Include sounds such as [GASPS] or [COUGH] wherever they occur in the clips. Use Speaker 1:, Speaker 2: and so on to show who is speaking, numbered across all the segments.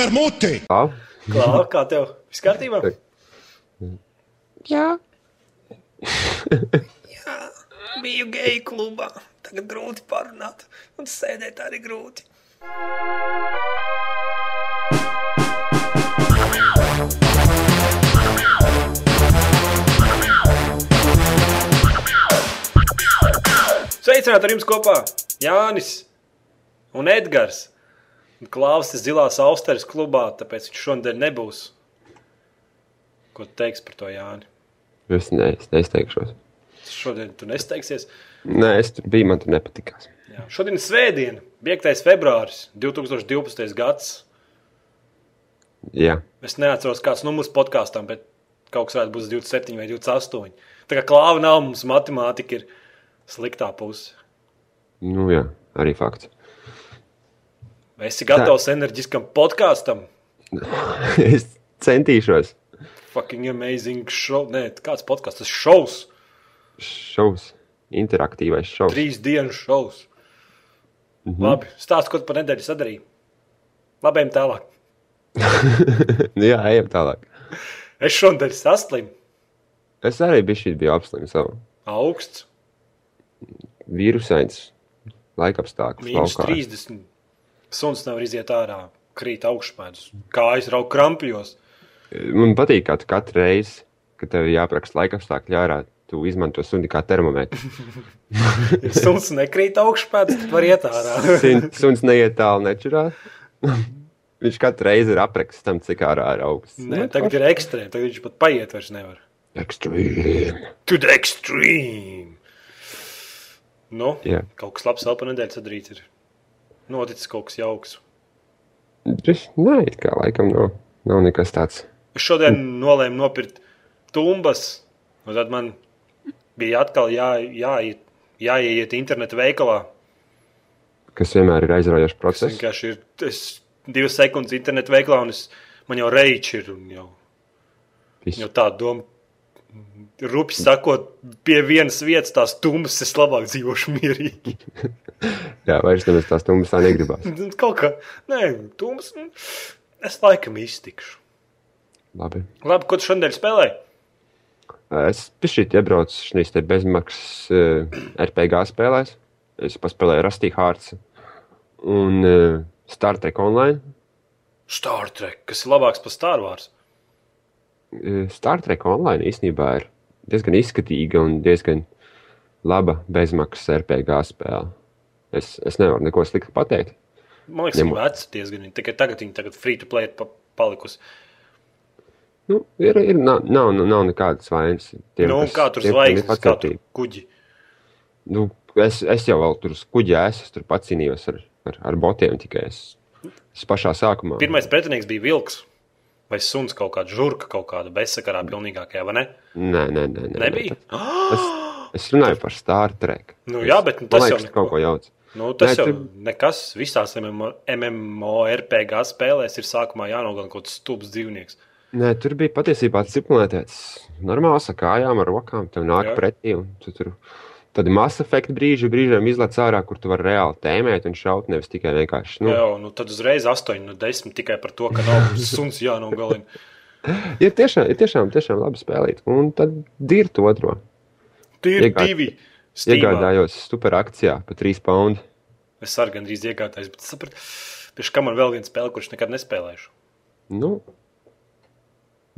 Speaker 1: ar muti!
Speaker 2: Tā.
Speaker 3: Klau, kā tev? Viss kārtībā?
Speaker 2: Tā.
Speaker 4: Jā,
Speaker 3: Biju geju klubā. Tagad grūti parunāt, un sēdēt arī grūti. Sveicināti ar jums kopā Jānis un Edgars. Klausās zilās austeres klubā, tāpēc viņš šodien nebūs. Ko tu teiksi par to Jāni?
Speaker 2: Es, ne, es neizteikšos.
Speaker 3: Šodien tu nesteigsies.
Speaker 2: Nē, es tur biju, man tur nepatikās.
Speaker 3: Jā. Šodien ir svētdiena, 5. februāris, 2012. gads.
Speaker 2: Jā,
Speaker 3: Es neatceros, kāds numurs podkāstam, bet kaut kas tāds būs 27 vai 28. Tā kā klāva nav, mums matemātika ir sliktā puse.
Speaker 2: nu jā, arī fakts. [LAUGHS]
Speaker 3: Esi gatavs Tā. enerģiskam podkāstam?
Speaker 2: es centīšos.
Speaker 3: Fucking amazing show. Nē, kāds podkāsts? Tas šovs,
Speaker 2: Šovs, interaktīvais šovs.
Speaker 3: trīs dienu šovs. Mm -hmm. Labi, stāsti, ko tu par nedēļu sadarīji. Labi, ejam tālāk.
Speaker 2: Nu jā, ejam tālāk.
Speaker 3: Es šodien saslimu.
Speaker 2: Es arī biju šī bija apslimis savu
Speaker 3: Augsts,
Speaker 2: vīrusains laikapstākļu
Speaker 3: mīnus 30. Suns nevar iziet ārā, krīt augšpēdas, kājas rauk krampjos.
Speaker 2: Man patīk, kā tu katru reizi, kad tev ir jāapraksta laikapstākļi ārā, tu izmanto suni kā
Speaker 3: [LAUGHS]
Speaker 2: termometru.
Speaker 3: Ja suns nekrīt augšpēdas, tad var iet
Speaker 2: [LAUGHS]
Speaker 3: ārā.
Speaker 2: Sin- Suns neiet tālu nečurā. [LAUGHS] Viņš katru reizi ir apraksts tam, cik ārā ir augsts.
Speaker 3: Nē, tagad ir ekstrēms. Tagad viņš pat paiet vairs nevar.
Speaker 2: Ekstrīm.
Speaker 3: To the extreme! Nu,
Speaker 2: Jā.
Speaker 3: kaut kas labs vēl par nedēļu sadarīts. Ir. Noticis kaut kas jauks.
Speaker 2: Tas nē, it kā laikam nav, nav nekas tāds.
Speaker 3: Es šodien nolēmu nopirkt tumbas. un Tad man bija atkal jā, jāiet, jāiet internetu veikalā.
Speaker 2: Kas vienmēr ir aizraujošs
Speaker 3: Es
Speaker 2: process.
Speaker 3: vienkārši ir es divas sekundes internetu veikalā, un es, man jau reiķis ir. un Jau,
Speaker 2: Viss.
Speaker 3: jau tā doma, rupi sakot, pie vienas vietas tās tumbas es labāk dzīvošu mierīgi. [LAUGHS]
Speaker 2: Jā, vairs nemaz tās tumbas tā negribas.
Speaker 3: Nu, Kaut kā, nē, tums, nu, es laikam iztikšu.
Speaker 2: Labi.
Speaker 3: Labi, ko tu šodien spēlē?
Speaker 2: Es pišķīt iebraucu šīs te bezmaksas uh, RPG spēlēs. Es paspēlēju Rusty Hearts un uh, Star Trek Online.
Speaker 3: Star Trek, kas ir labāks par Star Wars.
Speaker 2: Uh, Star Trek Online īstenībā ir diezgan izskatīga un diezgan laba bezmaksas RPG spēle. Es, es nevaru neko sliktu pateikt.
Speaker 3: Man liekas,
Speaker 2: Ņemot-
Speaker 3: viņa veca diezgan, viņa tikai tagad viņa tagad free to play ir pa, palikusi.
Speaker 2: Nu, ir, ir, nav, nav, nu, nav nekādas vainas. Tiem,
Speaker 3: Nu, un
Speaker 2: kas-
Speaker 3: kā tur
Speaker 2: tiem, kam ir
Speaker 3: zvaigznes, kā
Speaker 2: pacietība.
Speaker 3: tur kuģi.
Speaker 2: Nu, es, es jau vēl tur skuģē, es, es tur pats cīnījos ar, ar, ar botiem. Tikai es, es pašā sākumā.
Speaker 3: Pirmais pretinieks bija vilks. Vai suns kaut kāda žurka, kaut kāda bezsakarā, pilnīgākajā, vai ne?
Speaker 2: Nē, nē, nē, nē,
Speaker 3: Nebija.
Speaker 2: Nē. Es runāju par Star Trek.
Speaker 3: Nu jā, bet nu
Speaker 2: Man
Speaker 3: tas jau
Speaker 2: liekas,
Speaker 3: neko.
Speaker 2: kaut ko jauc.
Speaker 3: [GASPS] Nu, tas
Speaker 2: Nē,
Speaker 3: jau
Speaker 2: tur-
Speaker 3: nekas. Visās MMO MMORPG spēlēs ir sākumā jānogalina kaut kāds stulbs dzīvnieks.
Speaker 2: Nē, tur bija patiesībā disciplinēts. Normāls ar kājām, ar rokām tev nāk
Speaker 3: Jā.
Speaker 2: jā. pretī. un Tu tur... Tad ir masa efekta brīži, brīžiem izlaiž ārā, kur tu vari reāli tēmēt un šaut. Nevis tikai vienkārši. Nu,
Speaker 3: Jā, nu tad uzreiz 8 no 10 tikai par to,
Speaker 2: [LAUGHS]
Speaker 3: ka nav suns jānogalina.
Speaker 2: ir tiešām, ir tiešām, tiešām labi spēlēt. Un tad dirta otru.
Speaker 3: Tie ir
Speaker 2: Iegād-
Speaker 3: divi. Steamā.
Speaker 2: Iegādājos super akcijā par 3 pounds.
Speaker 3: Es arī gandrīz iegādājos, bet sapratu, pieši kam man vēl viena spēle, kurš nekad nespēlēšu.
Speaker 2: Nu,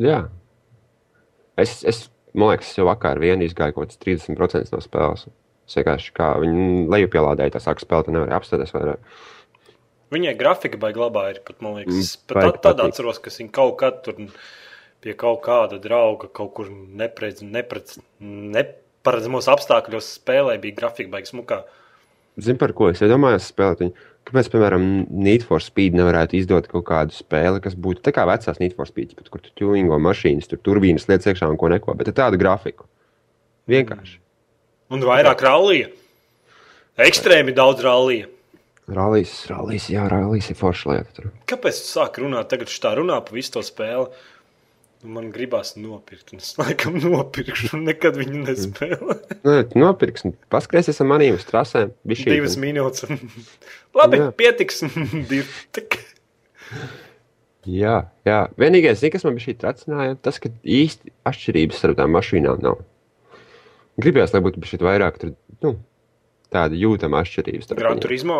Speaker 2: jā. Es, es man liekas, jau vakar vienā izgāja kaut kāds 30% no spēles. Es vienkārši kā viņi lejupielādēja, tā sāka spēlēt, un nevarēja apstāties vairāk.
Speaker 3: Viņai grafika baigā labā ir pat, man liekas,
Speaker 2: Mm,
Speaker 3: pat
Speaker 2: baigi
Speaker 3: tad, tad
Speaker 2: patīk.
Speaker 3: atceros, ka viņa kaut kad tur pie kaut kāda drauga kaut kur neprec, neprec, neparedzamos apstākļos spēlē, bija grafika baigā smukā.
Speaker 2: Zini, par ko es iedomājos spēlēt? Viņu? Kāpēc, piemēram, Need for Speed nevarētu izdot kaut kādu spēli, kas būtu tā kā vecās Need for Speed, bet kur tu tuningo mašīnas, tur turbīnas lietas iekšā un ko neko, bet ar tādu grafiku. Vienkārši.
Speaker 3: Un vairāk rallija. Ekstrēmi daudz rallija.
Speaker 2: Rallijas, rallijas, jā, rallijas ir forša lieta. Tur.
Speaker 3: Kāpēc tu sāki runāt tagad šitā runā par visu to spēli? Nu, Man gribās nopirkt, un es laikam nopirkšu, un nekad viņu
Speaker 2: Mm.
Speaker 3: nespēlēju.
Speaker 2: Nē, Nu, Nopirksim, paskatieties ar maniem uz trasēm. Bišķīt, un-
Speaker 3: [LAUGHS] Divas minūtes. Un... Labi,
Speaker 2: Jā.
Speaker 3: pietiks. Div- tik.
Speaker 2: Jā, jā. vienīgais, zin, kas man bija šī tracināja, tas, ka īsti atšķirības starp tām mašīnām nav. Gribējās, lai būtu šeit vairāk tur, nu, tāda jūtama atšķirības. starp
Speaker 3: Gran
Speaker 2: viņiem.
Speaker 3: turismo.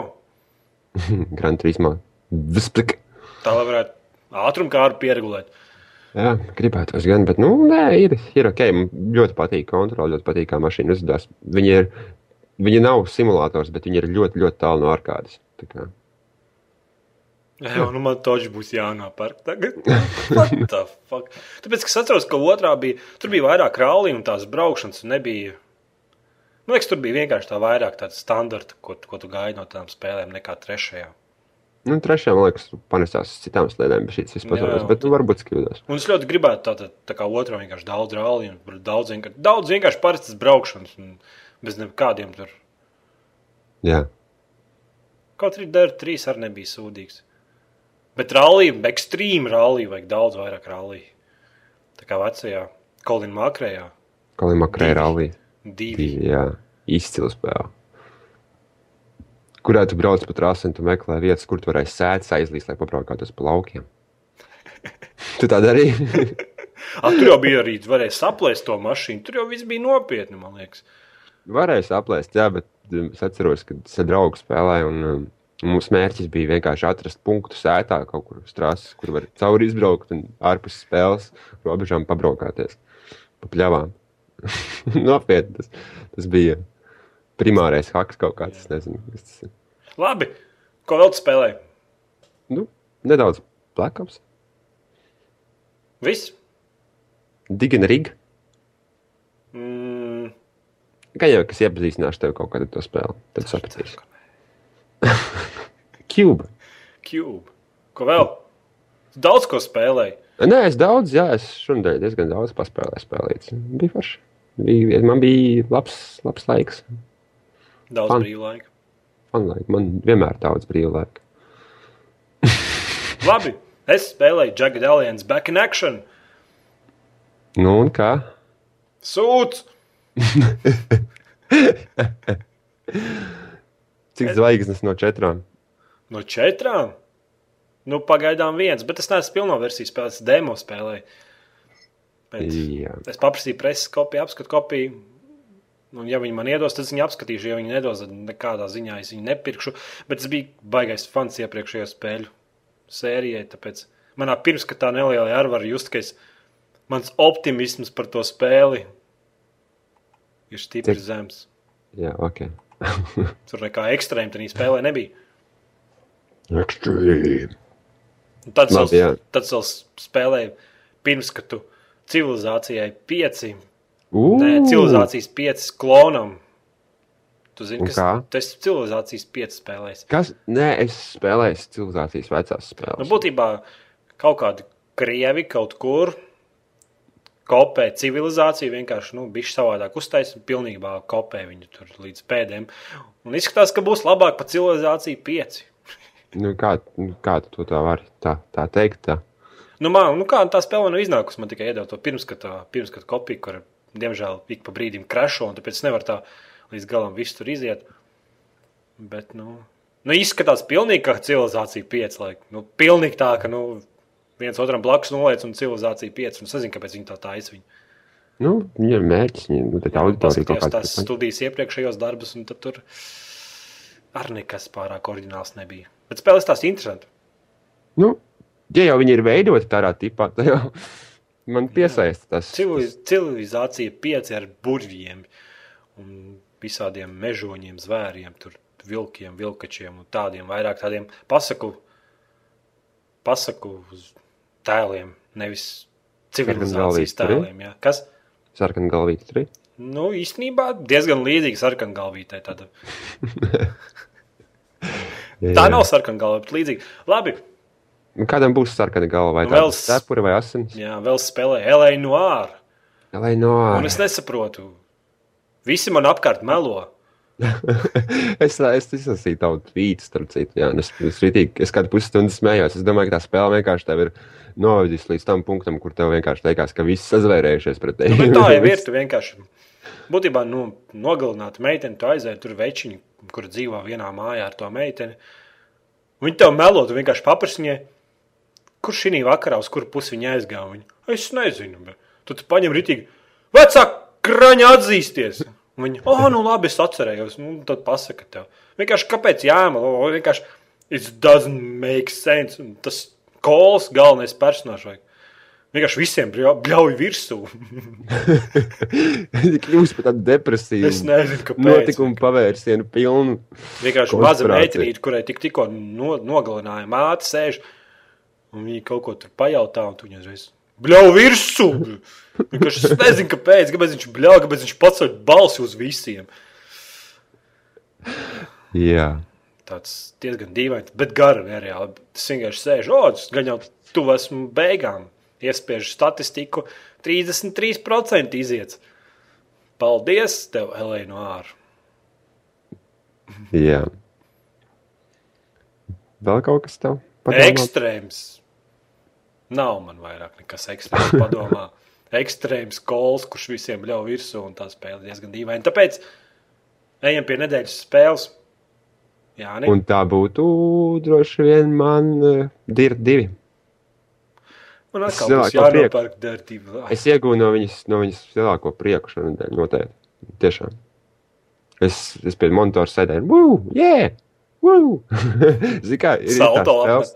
Speaker 2: Gran Turismo. Vzpik.
Speaker 3: Tā lai varētu ātrumu kā ar pieregulēt.
Speaker 2: Jā, gribētu es gan, bet, nu, nē, ir, ir ok. Man ļoti patīk kontrole, ļoti patīk, kā mašīna uzvedās. Viņa, ir, viņa nav simulators, bet viņa ir ļoti, ļoti tālu no ārkārtas. Tā kā,
Speaker 3: Jā, nu man toģis būs jānopērk tagad. What the fuck? Tāpēc, ka es atceros, ka otrā bija, tur bija vairāk rālī un tās braukšanas un nebija. Man liekas, tur bija vienkārši tā vairāk tāda standarta, ko, ko tu gaidi no tām spēlēm, nekā trešajā.
Speaker 2: nu, trešajā, man liekas, panesās citām slēdēm, bet šīs vispār
Speaker 3: Jā,
Speaker 2: tādas, bet, nu, varbūt kļūdās.
Speaker 3: Un es ļoti gribētu tādu tā kā otrā vienkārši daudz rāli un br- daudz, vienkār- daudz vienkārši parastas braukšanas un bez nekādiem tur.
Speaker 2: Jā,
Speaker 3: Kaut arī dera trīs arī nebija sūdīgs. Bet rallija, ekstrīma rallija, vajag daudz vairāk rallija. Tā kā vecajā Kolina Makrējā
Speaker 2: kā Limā Krēra Alī.
Speaker 3: divi. [LAUGHS]
Speaker 2: Jā, izcila spēle. Kurā tu brauc pa trasi un tu meklē vietas, kur tu varēsi sēdēt, aizlīst, lai pabraukātos pa
Speaker 3: [LAUGHS]
Speaker 2: laukiem? Tu tā darīji?
Speaker 3: A, Ah, tur jau bija arī, varēja saplēst to mašīnu. Tur jau viss bija nopietni, man liekas.
Speaker 2: Varēja saplēst, jā, bet um, es atceros, ka tas ir draugs spēlē. Un, um, Mūsu mērķis bija vienkārši atrast punktu sētā, kaut kur strāsā, kur var cauri izbraukt un ārpus spēles robežām pabraukāties pa pļavām. [LAUGHS] Nopietni, tas, tas bija primārais haks kaut kāds. Es nezinu, kas tas ir.
Speaker 3: Labi, ko vēl tu spēlēji?
Speaker 2: Nu, nedaudz plakāts.
Speaker 3: Viss.
Speaker 2: Digina Riga.
Speaker 3: Mm,
Speaker 2: Kā jau es iepazīstināšu tevi kaut kādā to spēlē, tad sapratīsi.
Speaker 3: ceru, ka nē.
Speaker 2: [LAUGHS] Cuba.
Speaker 3: Cube. Ko vēl? Daudz ko spēlēji.
Speaker 2: Nē, es daudz, jā, es šodien diezgan daudz paspēlēju spēlētas. Bija forši. Bija, man bija labs, labs laiks.
Speaker 3: Daudz
Speaker 2: Fan.
Speaker 3: brīvā laika.
Speaker 2: Man, laik. man vienmēr ir daudz brīvā laika.
Speaker 3: Labi, es spēlēju Jagged Alliance Back in Action.
Speaker 2: Nu, un kā?
Speaker 3: Sūds!
Speaker 2: Cik zvaigznes no četrām?
Speaker 3: No četrām? Nu, pagaidām viens, bet es neesmu pilno versiju spēlējis, es demo spēlēju. Pēc...
Speaker 2: Jā,
Speaker 3: Es paprasīju preses kopiju, apskatu kopiju. Un, ja viņi man iedos, tad es viņu apskatīšu. Ja viņi nedos, tad nekādā ziņā es viņu nepirkšu. Bet es biju baisais fans iepriekšējā spēļu sērijai. Tāpēc manā pirmskatā nelielā arī var just, ka es, mans optimisms par to spēli ir stipri
Speaker 2: Cik-
Speaker 3: zems.
Speaker 2: jā ok.
Speaker 3: Tur nekā ekstrēma tajā spēlē nebija.
Speaker 2: Extreme.
Speaker 3: Un Tad
Speaker 2: Labi, jā.
Speaker 3: vēl- tad es vēl spēlēju pirmskatu civilizācijai pieci.
Speaker 2: Ugh,
Speaker 3: Nē, civilizācijas piecas klonam. Tu zini,
Speaker 2: Un
Speaker 3: kas
Speaker 2: kā?
Speaker 3: tas ir civilizācijas piecas spēlēs.
Speaker 2: Kas? Nē, es spēlēju civilizācijas vecās
Speaker 3: Nu,
Speaker 2: spēles.
Speaker 3: būtībā kaut kādi krievi kaut kur kopē civilizāciju, vienkārši nu, bišķi savādāk uztaisīja un pilnībā kopē viņu tur līdz pēdējiem. Un izskatās, ka būs labāk par civilizāciju pieci.
Speaker 2: Nu, kā, nu, kā tu to tā vari tā, tā teikt? Tā?
Speaker 3: Nu, man, nu, kā tā spēle nav iznākusi, man tikai iedod to pirmskatā, pirmskatā kopiju, kur, diemžēl, ik pa brīdim krešo, un tāpēc nevar tā līdz galam visu tur iziet. Bet, nu, nu izskatās pilnīgi kā civilizācija 5. Laik, nu, pilnīgi tā, ka, nu, viens otram blakus noliec un civilizācija 5. Un es nezinu, kāpēc viņi tā taisa viņu.
Speaker 2: Nu, viņam ir mērķis, viņa nu, tā auditorija kaut
Speaker 3: Paskatījos
Speaker 2: kāda
Speaker 3: tās studijas iepriekšējos darbus, un tad tur arī nekas pārāk oriģināls nebija. Bet spēlēs tās interesanti.
Speaker 2: Nu, ja jau viņi ir veidoti tādā tipā, tad jau [LAUGHS] man piesaista tas.
Speaker 3: Civiliz, civilizācija pieci ar burviem un visādiem mežoņiem, zvēriem, tur vilkiem, vilkačiem un tādiem vairāk tādiem pasaku, pasaku uz tēliem, nevis civilizācijas
Speaker 2: Sarkangalvīti tur ir?
Speaker 3: tēliem. Jā. Kas?
Speaker 2: Sarkanā galvīte tur ir.
Speaker 3: Nu, īstenībā diezgan līdzīga sarkangalvītei. Tāda. Tā nav sarkangalvīte, bet līdzīga. Labi,
Speaker 2: Nu, Kādam būs sarkana galva vai
Speaker 3: Nu, vēl
Speaker 2: tāda
Speaker 3: s-
Speaker 2: cepura vai asins?
Speaker 3: jā, vēl spēlēja Elēnu no ārā.
Speaker 2: Lai no
Speaker 3: Un es nesaprotu. Visi man apkārt melo.
Speaker 2: [LAUGHS] es, es izlasīju tavu tvītu, starp citu, jā, un es, es, ritīgi, es kādu pusstundu smējos. Es domāju, ka tā spēle vienkārši tev ir novedis līdz tam punktam, kur tev vienkārši liekas, ka viss sazvērējušies pret tevi.
Speaker 3: Nu, bet tā
Speaker 2: [LAUGHS]
Speaker 3: jau ir. Tu vienkārši būtībā nu, nogalināti meiteni, tu aizēji tur večiņu, kur dzīvo vienā mājā ar to meiteni. Viņa tev melo, tu vienkārši paprasti viņai, Kurš šī vakarā, uz kuru pusi viņa aizgāja? Viņa? Es nezinu, bet tu, tu paņem rītīgi. Vecāka kraņa atzīsties! Viņa, oh, nu labi, es atcerējos, nu tad pasaka tev. Vienkārši kāpēc jāmalo? Vienkārši it doesn't make sense. Un tas kols galvenais personāžs. vajag. Vienkārši visiem bļau- bļauj virsū.
Speaker 2: [LAUGHS] Kļūst par tādu depresiju.
Speaker 3: Es nezinu, kāpēc.
Speaker 2: Notikumu pavērsienu pilnu.
Speaker 3: Vienkārši maza
Speaker 2: Konspirācija.
Speaker 3: meitenīte, kurai tik, tikko no, nogalināja māte, sēž un viņa kaut ko tur pajautā, un tu viņai uzreiz bļauj virsū. Vienkārši es nezinu, kāpēc, kāpēc viņš bļauj, kāpēc viņš paceļ balsi uz visiem.
Speaker 2: Jā.
Speaker 3: Tāds diezgan dīvains, bet gara nereāli. Tas vienkārši sēž, o, tas gan jau tu esmu beigām. Iespiežu statistiku 33% iziet. Paldies tev, Elēna, no ārā.
Speaker 2: Jā. Vēl kaut kas tev patīk?
Speaker 3: Ekstrēms. Nav man vairāk nekas ekstrēms.
Speaker 2: [LAUGHS]
Speaker 3: Padomā. Ekstrēms kols, kurš visiem ļauj virsū, un tā spēle diezgan dīvaina. Tāpēc ejam pie nedēļas spēles. Jā, nē,
Speaker 2: Un tā būtu droši vien man uh, dir divi.
Speaker 3: man
Speaker 2: es
Speaker 3: atkal būs
Speaker 2: cilvēku prieku.
Speaker 3: jānopērk dertība. [LAUGHS]
Speaker 2: Es iegūnu no viņas, no viņas lielāko prieku šonadēļ noteikti. Tiešām. Es, es pie monitora sēdēju. Woo! Yeah! Woo! [LAUGHS] Zini, kā ir, ir, tās
Speaker 3: Salto
Speaker 2: spēles,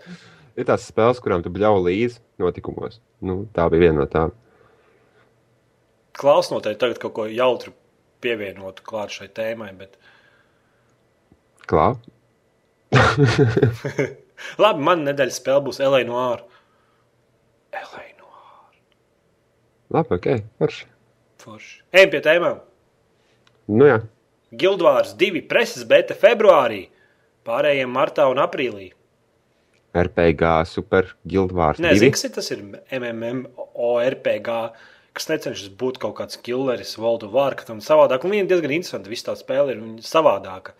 Speaker 2: ir tās spēles, kurām tu bļauj līdzi notikumos. Nu, tā bija viena no tām.
Speaker 3: Klaus noteikti tagad kaut ko jautru pievienotu klāt šai tēmai, bet [LAUGHS]
Speaker 2: Klā.
Speaker 3: labi, man nedēļas spēle būs Elēna no ārā. Elēna no ārā.
Speaker 2: Labi, ok. Varši.
Speaker 3: Forši. Ejam pie tēmām.
Speaker 2: Nu jā.
Speaker 3: Gildvārs divi preses beta februārī, pārējiem martā un aprīlī.
Speaker 2: RPG super guildvārds.
Speaker 3: Nē, zini, kas ir tas ir MMORPG, kas necenšas būt kaut kāds killeris, valdu vārka tam savādāk. Un viņa diezgan interesanta, viss tā spēle ir viņa savādāka.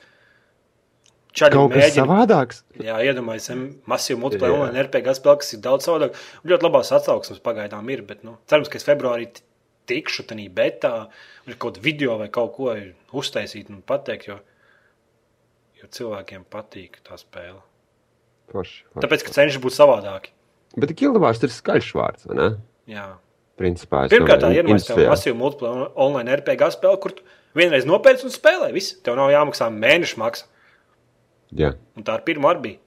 Speaker 3: Čaļi
Speaker 2: Kaut kas
Speaker 3: mēģina.
Speaker 2: savādāks.
Speaker 3: Jā, iedomājieties, masīvu multiplayer
Speaker 2: Jā.
Speaker 3: un RPG spēle, kas ir daudz savādāk. Un Ļoti labās atsauksmes pagaidām ir, bet nu, cerams, ka es februārī ti- tikšu tajā betā, un kaut kādu video vai kaut ko uztaisīt un pateikt, jo, jo cilvēkiem patīk tā spēle.
Speaker 2: Forši, forši.
Speaker 3: Tāpēc, ka cenšas būt savādākiem.
Speaker 2: Bet guildvārds ir skaļš vārds, vai ne?
Speaker 3: Jā.
Speaker 2: Principā, es
Speaker 3: Pirmkārt, tā
Speaker 2: domāju,
Speaker 3: ir
Speaker 2: industriāli.
Speaker 3: masīva multiplayer online RPG spēle, kur tu vienreiz nopērci un spēlē. Viss. Tev nav jāmaksā mēneša maksa.
Speaker 2: Jā,
Speaker 3: Un tā ir pirmā arī bija.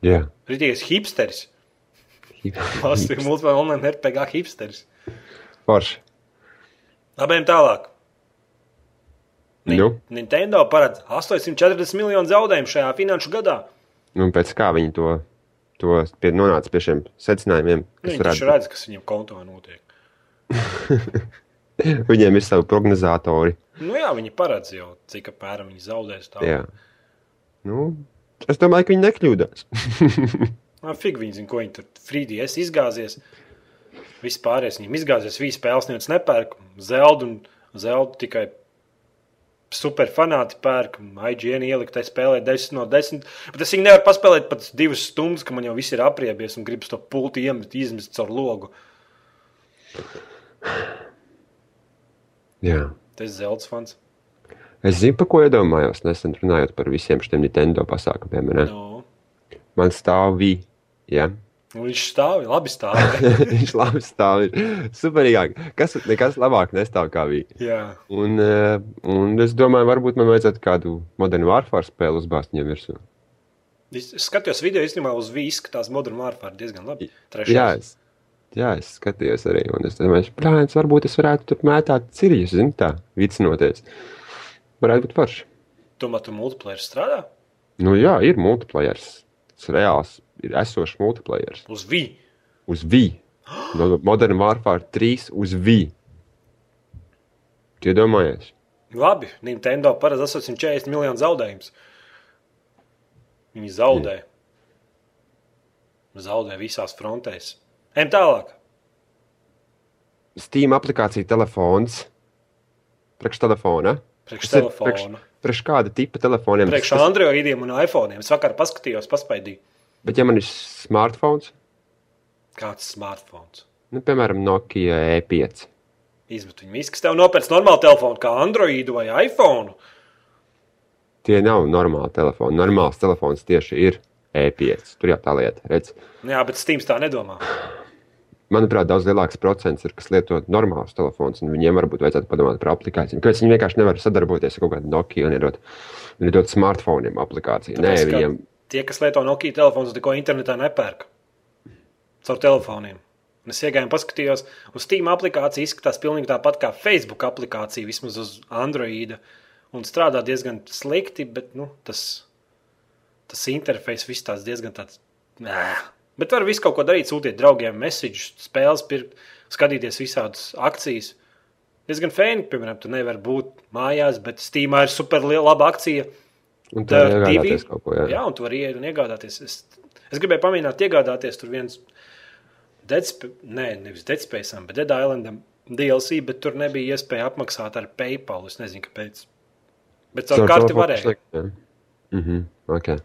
Speaker 2: jā.
Speaker 3: Rītīgais
Speaker 2: [LAUGHS]
Speaker 3: hipsteris. Masīva multiplayer online RPG hipsteris.
Speaker 2: Forši.
Speaker 3: Labi, ejam tālāk. Ni-
Speaker 2: Nu?
Speaker 3: Nintendo paredz 840 miljonu zaudējumu šajā finanšu gadā.
Speaker 2: Nu, pēc kā viņi to, to pie, nonāca pie šiem secinājumiem,
Speaker 3: Nu,
Speaker 2: kas
Speaker 3: Viņi taču
Speaker 2: redz,
Speaker 3: redz, kas viņam kontā notiek.
Speaker 2: viņiem ir savi prognozatori.
Speaker 3: Nu, jā, viņi paredz jau, cik apmēram viņi zaudēs. Tā.
Speaker 2: Jā. Nu, es domāju, ka viņi nekļūdās.
Speaker 3: Man Nu, fig viņi zina, ko viņi tur frīdīs izgāzies. Viss pārējais viņiem izgāzies, visi spēles neviens nepērk. Zelda un zelta tikai superfanāti pērk. IGN ielikt, tai spēlē 10 no 10. Bet es viņu nevaru paspēlēt pat divas stundas, ka man jau viss ir apriebies un gribas to pulti iemet, izmest caur logu.
Speaker 2: jā.
Speaker 3: Tas zelta fans.
Speaker 2: Es zinu, par ko iedomājos nesen runājot par visiem šiem Nintendo pasākumiem. vai Ne?
Speaker 3: No.
Speaker 2: Man stāv vi. Ja?
Speaker 3: Un Nu, viņš stāv, labi stāv.
Speaker 2: [LAUGHS] Viņš labi stāv. ir Superīgāk. Kas nekas labāk nestāv kā vi.
Speaker 3: Jā,
Speaker 2: Un, eh, un es domāju, varbūt man vajadzētu kādu modernu Warfare spēli uzbāzt viņam virsū.
Speaker 3: es es skatījos video, īstenībā uz vīzu izskatās Modern Warfare diezgan labi.
Speaker 2: Jā,
Speaker 3: Trešais.
Speaker 2: es, jā, es skatījos arī. Un es domāju, plāns, varbūt es varētu tur mētāt cirjus, zinu, tā, vicinoties. Varētu būt forši.
Speaker 3: Tomēr tu multiplayer strādā
Speaker 2: Nu, jā, ir multiplayer. Tas reāls ir esošs multiplayer.
Speaker 3: uz vīzu.
Speaker 2: Uz V. No Modern Warfare 3 uz V. Tu iedomājies?
Speaker 3: Labi, Nintendo paredz 840 miljonu zaudējumus. Viņi zaudē. Zaudē visās frontēs. Ejam tālāk.
Speaker 2: Steam aplikācija telefons. Priekš telefona.
Speaker 3: Priekš
Speaker 2: Tas ir priekš-
Speaker 3: telefona.
Speaker 2: Priekš kāda tipa telefoniem?
Speaker 3: Priekš
Speaker 2: Tas-
Speaker 3: Andrejiem un iPhone. Es vakar paskatījos, paspaidīju.
Speaker 2: Bet, ja man ir smartphones,
Speaker 3: Kāds smartphones?
Speaker 2: nu, piemēram, Nokia E E5,
Speaker 3: Izmet viņu visu, kas tev nopērts normālu telefonu, kā Android vai iPhone.
Speaker 2: tie nav normāli telefoni. Normāls telefons tieši ir E5. Tur jau tā lieta. Redz.
Speaker 3: Nu Jā, bet Steam tā nedomā.
Speaker 2: Manuprāt, daudz lielāks procents ir, kas lieto normālus telefonus, un viņiem varbūt vajadzētu padomāt par aplikācijām. Kāpēc viņi vienkārši nevar sadarboties ar kaut kādu Nokia un iedot, un iedot smartphoniem aplikāciju? Nē,
Speaker 3: Tāpēc, ka
Speaker 2: viņiem
Speaker 3: Tie, kas lieto Nokia telefonus, neko internetā nepērk. Caur telefoniem. Un Es iegāju, un paskatījos, un Steam aplikācija izskatās pilnīgi tāpat kā Facebook aplikācija, vismaz uz Android. Un strādā diezgan slikti, bet nu, tas, tas interfejs viss tāds diezgan tāds. Nē. Bet var visu kaut ko darīt, sūtīt draugiem, message, spēles, pirkt, skatīties visādas akcijas. Diezgan fēni, piemēram, tu nevari būt mājās, bet Steamā ir super liela akcija.
Speaker 2: un tā ir
Speaker 3: Tā
Speaker 2: iegādāties
Speaker 3: divi-
Speaker 2: kaut ko. Jā.
Speaker 3: Jā, un tu vari iet un iegādāties. Es, es gribēju pamēģināt, iegādāties tur viens Deadspējas, ne, nevis Deadspējas, bet Dead Islandam DLC, bet tur nebija iespēja apmaksāt ar PayPal. Es nezinu, kāpēc. Bet caur karti varēja.
Speaker 2: Mhm, okay.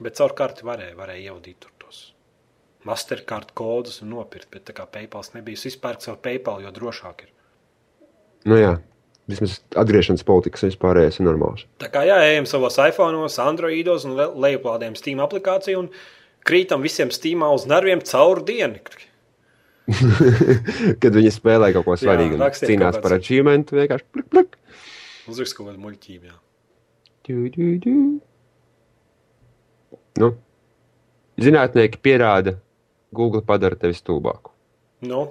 Speaker 3: Bet caur karti varēja, varēja ievadīt tur tos Mastercard kodus un nopirkt. Bet tā kā PayPal nebija, es izpērku caur PayPal, jo drošāk ir.
Speaker 2: Nu jā, vismaz atgriešanās politikas vispārējais ir normāls.
Speaker 3: Tā kā jā, ejam savos iPhone, Androidos un le- lejuplādējam Steam aplikāciju un krītam visiem Steamā uz nerviem caur dienu.
Speaker 2: Kad viņi spēlē kaut ko svarīgu, un
Speaker 3: rakstiet
Speaker 2: cīnās
Speaker 3: kaut
Speaker 2: par
Speaker 3: kāds-
Speaker 2: achievement, vienkārši plik, plik.
Speaker 3: Uzrakst kaut kādu muļķību. jā.
Speaker 2: Du, du, du. Nu, zinātnieki pierāda, Google padara tevi stulbāku.
Speaker 3: Nu,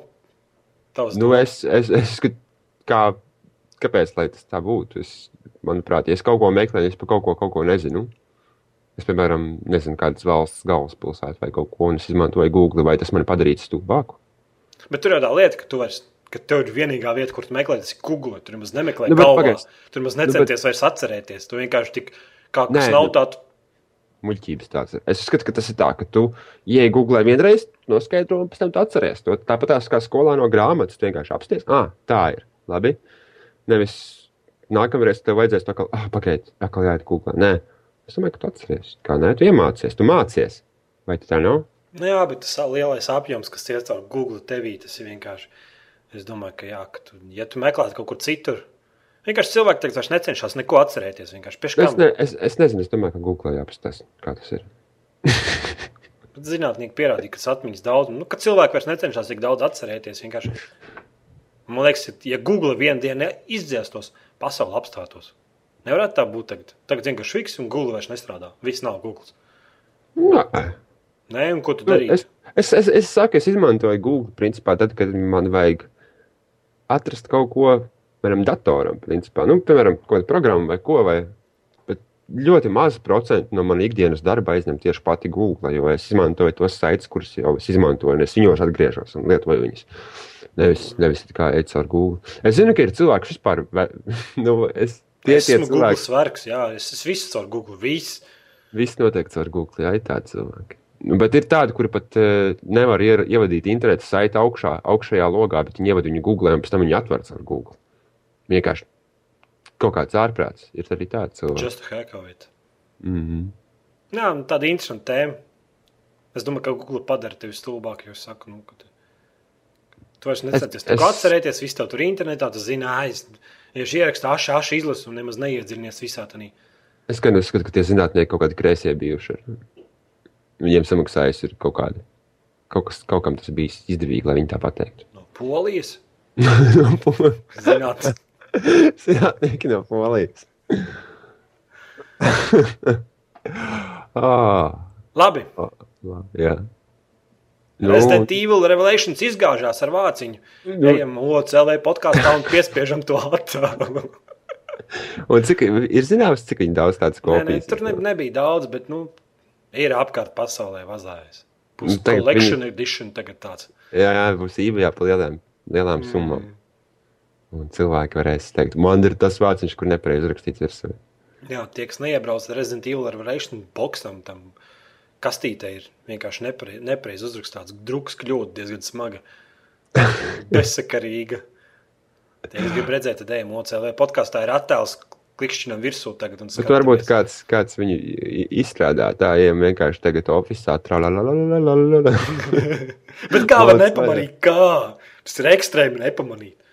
Speaker 3: tavs
Speaker 2: Nu, es, es, es skat- kā, kāpēc lai tas tā būtu? Es, manuprāt, ja es kaut ko meklēju, es par kaut ko, kaut ko nezinu. Es, piemēram, nezinu, kādas valsts galvaspilsēta vai kaut ko, un es izmantoju Google, vai tas man padarītu stulbāku.
Speaker 3: Bet tur jau tā lieta, ka tu vairs. Ka tev ir vienīgā vieta, kur tu meklē, tas ir Google. Tur nemaz nemeklē,
Speaker 2: Nu,
Speaker 3: nu,
Speaker 2: bet
Speaker 3: galvā,
Speaker 2: pagaidz.
Speaker 3: tur nemaz
Speaker 2: bet-
Speaker 3: necenties nu, vairs atcerēties. Tu vienkārši tik, kā
Speaker 2: Nē,
Speaker 3: kas nav
Speaker 2: nu-
Speaker 3: tāds.
Speaker 2: Muļķības tāds ir. Es uzskatu, ka tas ir tā, ka tu ieej Google vienreiz, noskaidro, un pēc tam tu atceries to. Tāpat tās kā skolā no grāmatas, tu vienkārši apsties, ah, tā ir. Labi. Nevis nākamreiz tev vajadzēs to kaut kā, ah, pagaidi, atkal jāiet Google. Nē, es domāju, ka tu atceries. Kā nē, tu iemācies, tu mācies. Vai tā nav?
Speaker 3: Nu, jā, bet tas lielais apjoms, kas iet caur Google tevī, tas ir vienkārši. Es domāju, ka, jā, ka tu, ja tu meklētu kaut kur citur, vienkārši cilvēki tagad vairs necenšas neko atcerēties. Vienkārši
Speaker 2: Nu, Es,
Speaker 3: peškām.
Speaker 2: ne, es, es nezinu, es domāju, ka Google jāapstāsta, kā tas ir.
Speaker 3: Bet Zinātnieki pierādīja, ka tas atmiņas daudz, nu, ka cilvēki vairs necenšas tik daudz atcerēties. vienkārši. Man liekas, ja Google vienā dienā izdzēstos, pasaule apstātos. Nevarētu tā būt tagad. Tagad vienkārši fiks un Google vairs nestrādā. Viss nav Google.
Speaker 2: Nē.
Speaker 3: Nē, un ko tu
Speaker 2: Nu,
Speaker 3: darīji?
Speaker 2: Es, es, es, es saku, es izmantoju Google principā tad, kad man vajag atrast kaut ko piemēram, datoram. Principā. Nu, piemēram, kaut kādu programmu vai ko. Vai, bet ļoti mazu procentu no manas ikdienas darba aizņem tieši pati Google. Jo es izmantoju tos saites, kurus jau es izmantoju, un es viņos atgriežos un lietoju viņus. Nevis, nevis tā kā eju caur Google. Es zinu, ka ir cilvēki, kas vispār. Ve, [LAUGHS] nu, es, tie
Speaker 3: Es
Speaker 2: ir
Speaker 3: esmu Google
Speaker 2: cilvēki,
Speaker 3: svarīgs. Jā, es esmu visu caur Google. Viss.
Speaker 2: Viss notiek caur Google. Jā, ir tādi cilvēki. Nu, Bet ir tādi, kuri pat uh, nevar ier, ievadīt interneta saiti augšā, augšējā logā, bet viņi ievada viņu Google, un pēc tam viņi atver caur Google. Vienkārši kaut kāds ārprāts. Ir arī tāds cilvēks.
Speaker 3: Just hackavīt.
Speaker 2: Mm -hmm.
Speaker 3: Jā, nu, tāda interesanta tēma. Es domāju, ka Google padara tevi stulbāk, jo es saku, nu, ka tu, tu vairs necenties es,
Speaker 2: es-
Speaker 3: es... atcerēties, viss tev tur internetā, tu zini, ah, es ja šī ierakstu ašu, ašu izlasu un nemaz neiedzirnies visā tajā.
Speaker 2: Es gan uzskatu, ka tie zinātnieki kaut kādi kreisie bijuši. ir. Viņiem samaksājis ir kaut kādi. Kaut, kas, kaut kam tas bija izdevīgi, lai viņi tā pateiktu.
Speaker 3: No polijas
Speaker 2: No Pol-
Speaker 3: zināt, [LAUGHS]
Speaker 2: Zinātnieki no Polijas. [LAUGHS] ah.
Speaker 3: labi.
Speaker 2: Labi, jā.
Speaker 3: Nu, Resident Evil Revelations izgāžās ar vāciņu. Nu, Ejam OCLV podkāstā un piespiežam to attēlu.
Speaker 2: un cik ir zināms, cik viņi daudz tādas
Speaker 3: Nē, nē,
Speaker 2: kopijas
Speaker 3: tur ne, nebija daudz, bet nu, ir apkārt pasaulē vazājis. Pusi
Speaker 2: Nu, tagad
Speaker 3: collection edition tagad tāds.
Speaker 2: Jā, jā, būs īvajā pa lielām, lielām mm. summām. Un cilvēki varēs teikt, man ir tas vārds, kur nepareizi rakstīts virsū.
Speaker 3: Jā, tie, kas neiebrauc ar Resident Evil ar Revelations boxam, tam kastītē ir vienkārši nepare- nepareizi uzrakstīts. Druks kļūda diezgan
Speaker 2: [LAUGHS]
Speaker 3: smaga, bezsakarīga. Tie, kas grib redzēt, tad ejam OCLV podkāstā ir attēls klikšķinam virsū tagad. un
Speaker 2: Bet varbūt
Speaker 3: skatāmies.
Speaker 2: kāds, kāds viņu i- izstrādā tā, ja vienkārši tagad oficiālā trālā.
Speaker 3: Bet kā var
Speaker 2: Daudz
Speaker 3: nepamanīt? Kā? Tas ir ekstrēmi nepamanīt.
Speaker 2: [LAUGHS]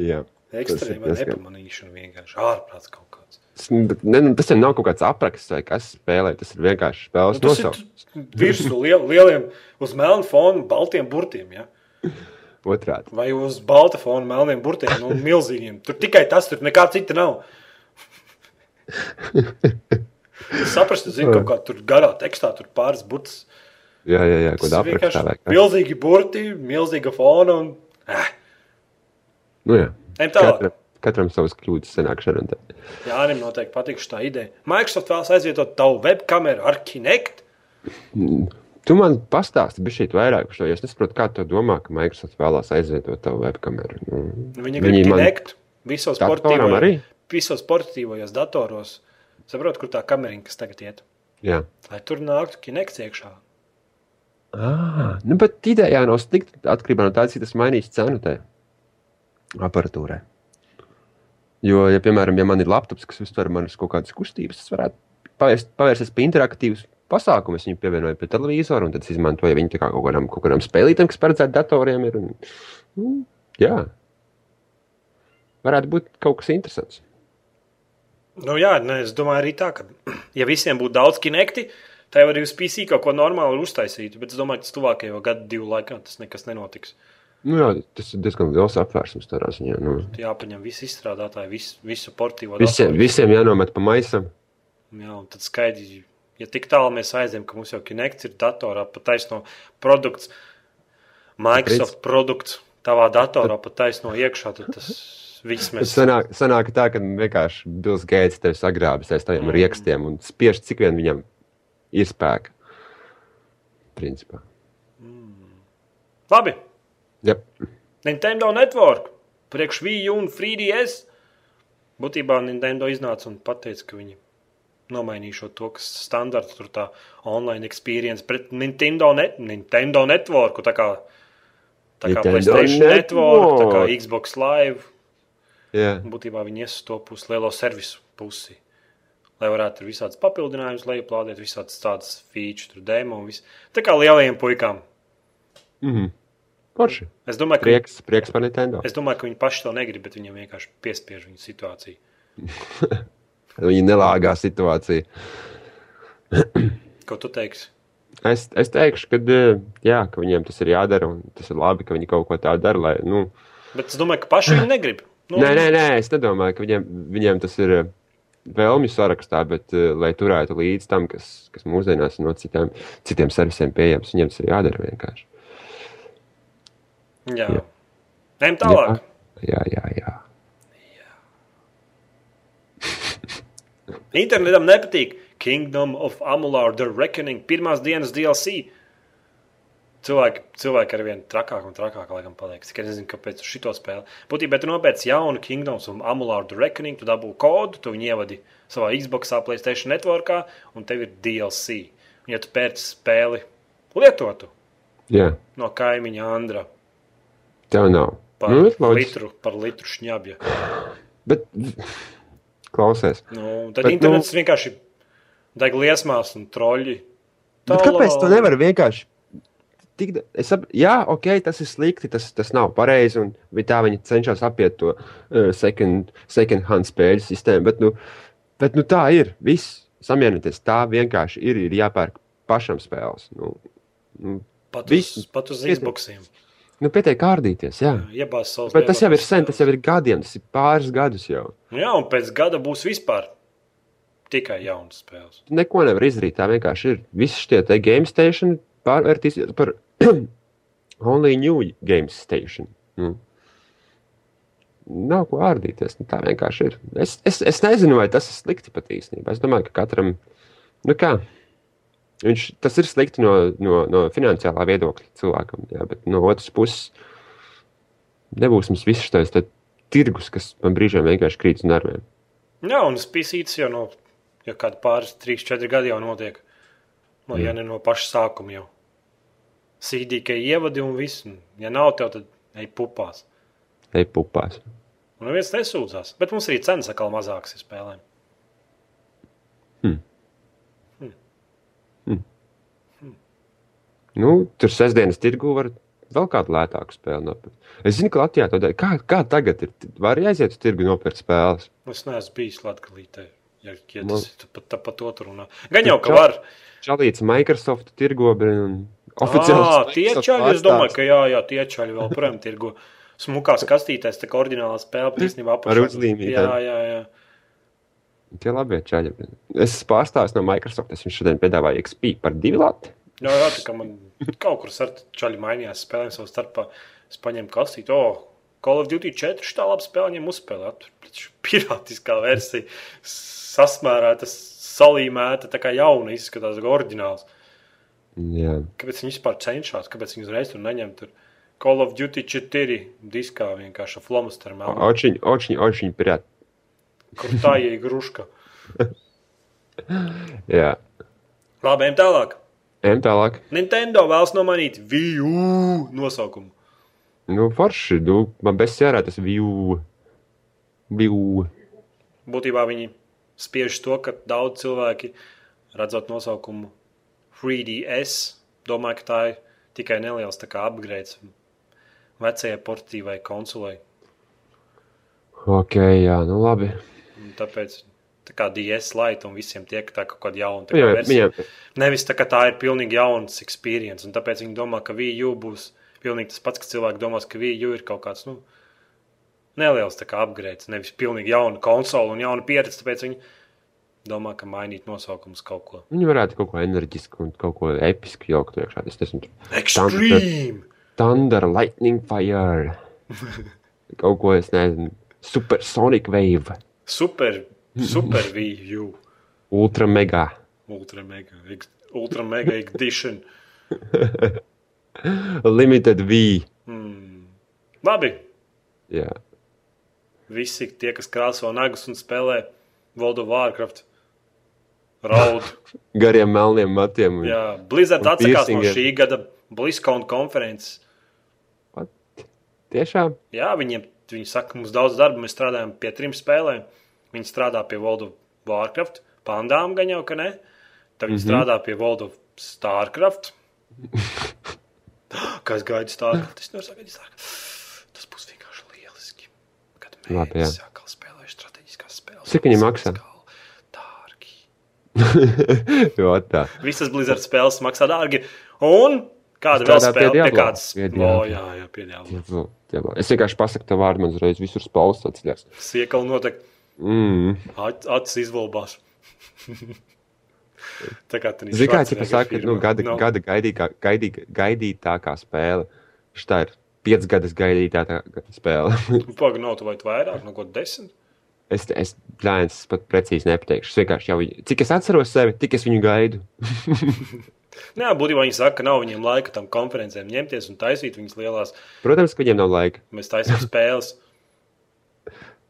Speaker 2: Jā,
Speaker 3: Ekstrēmā
Speaker 2: diezgan-
Speaker 3: nepamanīšana vienkārši ārprāts kaut kāds.
Speaker 2: Tas, bet ne, nu, tas jau nav kaut kāds apraksts vai kas spēlē. Tas ir vienkārši spēles
Speaker 3: Nu, tas ir
Speaker 2: nosaukums.
Speaker 3: tu- virsū liel, lieliem, uz melna fona, baltiem burtiem. Ja?
Speaker 2: Otrādi.
Speaker 3: Vai uz balta fona, melniem burtiem, nu, milzīgiem. Tur tikai tas, tur nekā cita nav. Es saprastu, zinu, kaut kā tur garā tekstā, tur pāris burts.
Speaker 2: Jā, jā, jā kaut
Speaker 3: Tas
Speaker 2: kādā
Speaker 3: ir
Speaker 2: aprakstā vai
Speaker 3: vienkārši
Speaker 2: kā.
Speaker 3: milzīgi burti, milzīga fona un eh,
Speaker 2: Nu, jā.
Speaker 3: ejam tālāk.
Speaker 2: Katram, katram savas kļūdas sanāk šodien. te.
Speaker 3: Jā, viņam noteikti patiks šī ideja. Microsoft vēlas aizvietot tavu webkameru ar Kinect.
Speaker 2: Tu man pastāsti, bija šī vairāk par šo. jo Es nesaprotu, kā tu domā, ka Microsoft vēlās aizvietot tavu webkameru. Nu,
Speaker 3: Viņa grib Kinect visos
Speaker 2: Datoram
Speaker 3: sportīvajos,
Speaker 2: arī?
Speaker 3: visos sportīvajos datoros. Saprotu, kur tā kamera, kas tagad iet.
Speaker 2: Jā.
Speaker 3: Lai tur nāktu Kinect iekšā.
Speaker 2: Ah, nu, bet ideja nav slikta. Atkarībā no tā, cik tas mainīs cenu tajā aparatūrē. Jo, ja, piemēram, ja man ir laptops, kas uztver manas kaut kādas kustības, tas varētu pavērst, pavērsties pie interaktīvas pasākuma. Es viņu pievienoju pie televizora, un tad es izmantoju viņu tā kā kaut kādam, kaut kādam spēlītam, kas paredzēts datoriem. Ir, un, nu, jā, varētu būt kaut kas interesants.
Speaker 3: Nu, jā, nē, es domāju, arī tā, ka, [CLEARS THROAT] ja visiem būtu daudz kinekti, tad jau arī uz PC kaut ko normālu uztaisītu. Bet es domāju, ka tas tuvākajā gadu, divu laikā tas nekas nenotiks.
Speaker 2: Nu, jā, tas ir diezgan liels apvērsums tādā ziņā. Nu,
Speaker 3: Tur jāpaņem visi izstrādātāji, visu, visu portīvo
Speaker 2: visiem, visiem jānomet pa maisam.
Speaker 3: Jā, un tad skaidri, ja tik tālu mēs aizējām, ka mums jau Kinects ir datorā pat taisno produkts, Microsoft Pēc... produkts tavā datorā pat taisno iekšā, tad tas viss mēs.
Speaker 2: Sanāk, sanāk tā, ka vienkārši Bills Gates tevi sagrābis aiz tādiem
Speaker 3: Mm.
Speaker 2: mm. rīkstiem un spiež, cik vien viņam ir spēka. Principā.
Speaker 3: Labi,
Speaker 2: Jā,
Speaker 3: Nintendo Network, priekš Wii U un 3DS. Būtībā Nintendo iznāca un pateica, ka viņi nomainīšot to, kas standarts tur tā online experience pret Nintendo, net, Nintendo Network, tā kā, tā kā
Speaker 2: Nintendo
Speaker 3: PlayStation Network, tā kā
Speaker 2: Network.
Speaker 3: Xbox Live.
Speaker 2: jā.
Speaker 3: Būtībā viņi ies uz to pusi, lielo servisu pusi. Lai varētu tur visādas papildinājumus, lai plādētu visādas tādas feature, tur demo un viss. Tā kā lielajiem puikām.
Speaker 2: Mm. Porši.
Speaker 3: Es domāju, ka,
Speaker 2: Prieks, prieks par Nintendo.
Speaker 3: es domāju, ka viņi paši to negrib, bet viņiem vienkārši piespiež viņu situāciju.
Speaker 2: Viņa nelāgā situācija.
Speaker 3: Ko tu teiksi?
Speaker 2: Es, es teikšu, ka, eh, jā, ka viņiem tas ir jādara un tas ir labi, ka viņi kaut ko tādu dara. Lai, nu,
Speaker 3: Bet es domāju, ka
Speaker 2: [CLEARS THROAT]
Speaker 3: paši viņi negrib. Nu,
Speaker 2: Nē, nē, nē, es nedomāju, ka viņiem, viņiem tas ir eh, vēlmju sarakstā, bet eh, lai turētu līdzi tam, kas, kas mūsdienās ir no citiem, citiem servisiem pieejams, viņiem tas ir jādara vienkārši.
Speaker 3: Jā. Ejam tālāk.
Speaker 2: Jā, jā, jā.
Speaker 3: Internetam nepatīk Kingdom of Amular The Reckoning pirmās dienas DLC. Cilvēki, cilvēki ar vien trakāk un trakāk laikam paliek. Es tikai nezinu, kāpēc uz šito spēli. Būtībā tu nopērci jaunu Kingdoms un Amular The Reckoning, tu dabū kodu, tu viņu ievadi savā Xbox, Playstation networkā un tev ir DLC. Un ja tu pērci spēli lietotu
Speaker 2: jā.
Speaker 3: no kaimiņa Andra
Speaker 2: Tev nav.
Speaker 3: par
Speaker 2: Nu,
Speaker 3: nu,
Speaker 2: ir loģiski.
Speaker 3: litru, par litru šņabja.
Speaker 2: Bet [LAUGHS] klausies.
Speaker 3: Nu, un tad
Speaker 2: Bet,
Speaker 3: Bet, internets nu, vienkārši deg liesmās un troļļi.
Speaker 2: Bet kāpēc tu nevari vienkārši? Tik, da- es sap, jā, ok, tas ir slikti, tas, tas nav pareizi. Un vi- tā viņi cenšas apiet to uh, second, second hand spēļu sistēmu. Bet, nu, bet nu, tā ir. Viss samierināties. Tā vienkārši ir. Ir jāpērk pašam spēles. Nu, nu,
Speaker 3: Pat uz,
Speaker 2: Viss.
Speaker 3: pat uz
Speaker 2: Pietiek.
Speaker 3: Xboxiem.
Speaker 2: nu, pietiek kārdīties. Jā.
Speaker 3: Iebāz savus
Speaker 2: Bet tas jau ir
Speaker 3: lielākos
Speaker 2: sen, tas jau
Speaker 3: spēles.
Speaker 2: ir gadiem, tas ir pāris gadus jau.
Speaker 3: Nu Jā, un pēc gada būs vispār tikai jaunas spēles.
Speaker 2: Tu neko nevar izdarīt. Tā vienkārši ir. Visi šie te game station pārvērtīsies par [CLEARS THROAT] only new game station. Nu. Nav ko ārdīties. Nu, tā vienkārši ir. Es, es, es nezinu, vai tas ir slikti pat īstenībā. Es domāju, ka katram nu kā, viņš, tas ir slikti no, no, no finansiālā viedokļa cilvēkam. Jā, bet no otras puses, nebūs mums viss šis tirgus, kas man brīžiem vienkārši krīt uz nerviem.
Speaker 3: Jā, un spīsītas jau no jau kāda pāris, trīs, četri gadi jau notiek. Nu,
Speaker 2: Mm.
Speaker 3: ja ne no paša sākuma jau. CDK ievadi un viss. un Ja nav tev, tad ej pupās.
Speaker 2: Ej, pupās.
Speaker 3: Un neviens nesūdzās. Bet mums arī cenas atkal mazākas ir spēlēm.
Speaker 2: Nu, tur sestdienas tirgu var Vēl kādu lētāku spēli nopirkt. Es zinu, ka Latvijā tādā kā, kā tagad ir. Var aiziet uz tirgu nopirkt spēles.
Speaker 3: Nu, Es neesmu bijis Latvijā. Ja, ja tas ir pat tāpat otru runā. Gan jau, ka var.
Speaker 2: Čalīts Microsoft tirgo, un
Speaker 3: Ā,
Speaker 2: oficiāli
Speaker 3: Ah, tie čaļi, es domāju, ka jā, jā tie čaļi vēl projām tirgo. Smukās kastītēs, tā kā ordinālā spēle, bet īstenībā apakšā.
Speaker 2: uzlīmītēm.
Speaker 3: Jā, jā, jā.
Speaker 2: Tie labie čaļi. brin. Es pārstāvu no Microsoft. Es viņam šodien piedāvāju XP par divu lati.
Speaker 3: Jā, jā, tā kā man kaut kur ar čaļi mainījās spēlēm savā starpā. Es paņēmu kastīti, oh, Call of Duty 4 šitā labi spēle, viņiem uzspēlē. Tur taču [LAUGHS] pirātiskā versija, sasmērēta, salīmēta, tā kā jauna izskatās, kā ordināls.
Speaker 2: Jā,
Speaker 3: Kāpēc viņi vispār cenšas, kāpēc viņi uzreiz tur neņem tur Call of Duty 4 diskā vienkārši flomasteru mēlā?
Speaker 2: očiņ, očiņ, očiņ pirāt.
Speaker 3: Krutājai gruška.
Speaker 2: Jā,
Speaker 3: Labi, ejam tālāk.
Speaker 2: ejam tālāk.
Speaker 3: Nintendo vēlas nomainīt VU nosaukumu.
Speaker 2: Nu, forši, nu, man bez jārā tas view. View.
Speaker 3: Būtībā viņi spiež to, ka daudz cilvēki, redzot nosaukumu 3DS, domā, ka tā ir tikai neliels tā kā upgrade vecajai portīvai konsolei.
Speaker 2: Ok, jā, nu labi.
Speaker 3: Un Tāpēc tā kā DS Lite un visiem tiek tā kaut kāda jauna tā kā
Speaker 2: Viņam,
Speaker 3: versija.
Speaker 2: viņam,
Speaker 3: Nevis tā, ka tā ir pilnīgi jauns pieredze, un tāpēc viņi domā, ka VU būs pilnīgi tas pats, kas cilvēki domās, ka VU ir kaut kāds nu, neliels tā kā upgrade, nevis pilnīgi jauna konsole un jauna pieredze. Tāpēc viņi domā, ka mainīt nosaukumus kaut ko.
Speaker 2: Nu, viņi varētu kaut ko enerģisku un kaut ko episku jaukt iekšā. Es nezinu, tur
Speaker 3: Extreme!
Speaker 2: Thunder, Lightning,
Speaker 3: [LAUGHS]
Speaker 2: Fire. Kaut ko es nezinu. Supersonic Wave,
Speaker 3: Super, super VU,
Speaker 2: Ultra Mega.
Speaker 3: ultra mega, ex- ultra mega edition.
Speaker 2: Limited V.
Speaker 3: Mm. Labi,
Speaker 2: Jā,
Speaker 3: visi tie, kas krāso nagus un spēlē World of Warcraft, raud.
Speaker 2: gariem melniem matiem. Un...
Speaker 3: Jā, Blizzard
Speaker 2: Un
Speaker 3: atsakās no
Speaker 2: piercingiem.
Speaker 3: šī gada BlizzCon konferences.
Speaker 2: What? Tiešām?
Speaker 3: Jā, viņiem viņi saka, mums daudz darba, mēs strādājam pie trim spēlēm. Viņi strādā pie World of Warcraft, pandām gan jau, ka ne. Tad
Speaker 2: Mhm.
Speaker 3: viņi mm -hmm. strādā pie World of
Speaker 2: [LAUGHS]
Speaker 3: Starcraft. Kas gaida Starcraft? Es nevaru sagaidīt Starcraft. Tas būs vienkārši lieliski. Kad
Speaker 2: Labi,
Speaker 3: mēs
Speaker 2: jā.
Speaker 3: atkal spēlēsim strateģiskās spēles.
Speaker 2: Cik viņi maksā?
Speaker 3: Atkal Dārgi.
Speaker 2: Jā, tā.
Speaker 3: Visas Blizzard spēles maksā dārgi. Un kāda vēl
Speaker 2: Strādā pie
Speaker 3: spēle? Pie
Speaker 2: Diablo.
Speaker 3: kādas?
Speaker 2: Pie
Speaker 3: O,
Speaker 2: Diablo.
Speaker 3: jā, jā, pie Diablo.
Speaker 2: Diablo, Diablo. Nu, Es vienkārši pasaku tev vārdu, man uzreiz visur spaudas atceļās.
Speaker 3: Siekal notek
Speaker 2: Mm.
Speaker 3: ac- acis izvolbās. [LAUGHS] Tā kā tur
Speaker 2: Zini, kā jau teicu, nu, gada, no. gada gaidīgā, gaidī, gaidītākā spēle. Šitā ir piecas gadas gaidītākā spēle.
Speaker 3: Pagaidām, Nu, nav tu vai tu vairāk, no kaut kā desmit.
Speaker 2: es es plānoju, pat precīzi nepateikšu. Es vienkārši jau viņu, cik es atceros sevi, tik es viņu gaidu.
Speaker 3: Nē, būtībā viņi saka, ka nav viņiem laika tam konferencēm ņemties un taisīt viņas lielās.
Speaker 2: Protams, ka viņiem nav laika.
Speaker 3: Mēs taisām spēles.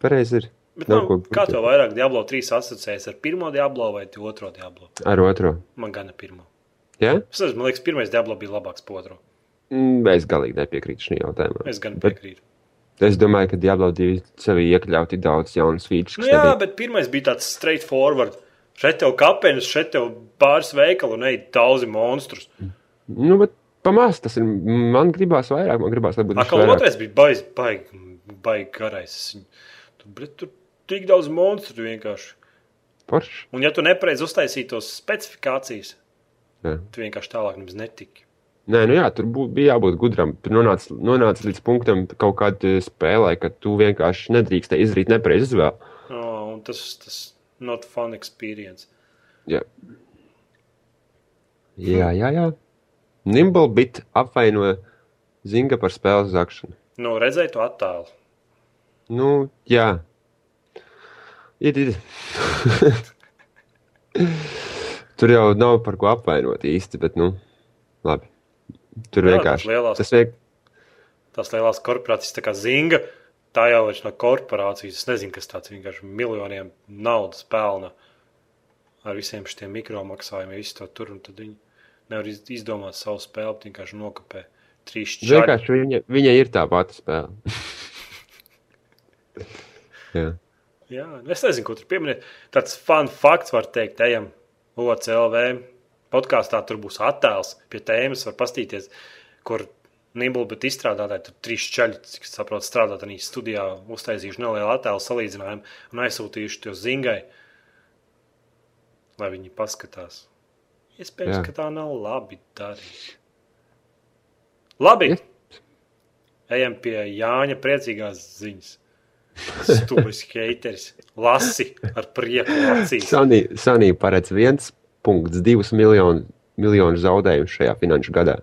Speaker 2: Pareizi ir.
Speaker 3: Bet,
Speaker 2: Nav
Speaker 3: nu,
Speaker 2: ko
Speaker 3: kā
Speaker 2: brīnīties.
Speaker 3: tev vairāk Diablo 3 asociējas ar pirmo Diablo vai tu otro Diablo?
Speaker 2: Ar otro.
Speaker 3: Man gan ir pirmo.
Speaker 2: Ja?
Speaker 3: Es nezinu, man liekas, pirmais Diablo bija labāks par otro.
Speaker 2: Mm, Es galīgi nepiekrītu šim jautājumam.
Speaker 3: Es gan
Speaker 2: Bet-
Speaker 3: piekrītu.
Speaker 2: Es domāju, ka Diablo 2 sevī iekļauti daudz jaunas features.
Speaker 3: Nu,
Speaker 2: kas
Speaker 3: jā,
Speaker 2: nebija.
Speaker 3: bet pirmais bija tāds straightforward. Šeit tev kapenes, šeit tev pāris veikalu un ej daudzi monstrus.
Speaker 2: Nu, bet pamāst, tas ir. Man gribās vairāk, man gribās, lai būtu
Speaker 3: Atkal otrais bija baigi, baigi, baigi garais. Tur, bļet, tur tik daudz monstru vienkārši.
Speaker 2: Porš.
Speaker 3: Un ja tu nepareizi uztaisīji tos specifikācijas,
Speaker 2: Jā.
Speaker 3: tu vienkārši tālāk nemaz netiki.
Speaker 2: Nē, nu jā, tur bū, bija jābūt gudram. Tur nonāca, nonāca līdz punktam kaut kādā spēlē, ka tu vienkārši nedrīkst izdarīt nepareizi izvēli.
Speaker 3: Oh, un tas tas not fun experience.
Speaker 2: Jā, Hm. jā, jā. jā. Nimblebit apvaino Zinga par spēles zākšanu.
Speaker 3: Nu, redzēju to attēlu.
Speaker 2: Nu, jā. Ir, ir. [LAUGHS] Tur jau nav par ko apvainot īsti, bet, nu, labi. Tur
Speaker 3: Jā, tas
Speaker 2: vienkārši
Speaker 3: lielās-
Speaker 2: tas vienkārši.
Speaker 3: Tās lielās korporācijas, tā kā zinga, tā jau ir no korporācijas. Es nezinu, kas tāds vienkārši miljoniem naudas pelna ar visiem šiem mikromaksājumiem, visu to tur. un Tad viņi nevar iz- izdomāt savu spēli, bet vienkārši nokopē trīs četras.
Speaker 2: Vienkārši viņa, viņa ir tā pati spēle. [LAUGHS] Jā.
Speaker 3: Jā, es nezinu, ko tur pieminēt. Tāds fun fakts var teikt, ejam OCLV podkāstā, tur būs attēls pie tēmas, var pastīties, kur Nibula, bet izstrādātāji tur trīs ceļi, cik es saprotu, strādā tādā studijā, uztaisījuši nelielu attēlu salīdzinājumu un aizsūtījuši to zingai, lai viņi paskatās. Iespējams,
Speaker 2: Jā.
Speaker 3: ka tā nav labi darīt. Labi, ejam pie Jāņa priecīgās ziņas. Stulbis haters, lasi ar prieku acīs.
Speaker 2: Sanī, Sanī paredz 1,2 miljonu, miljonu zaudējumu šajā finanšu gadā.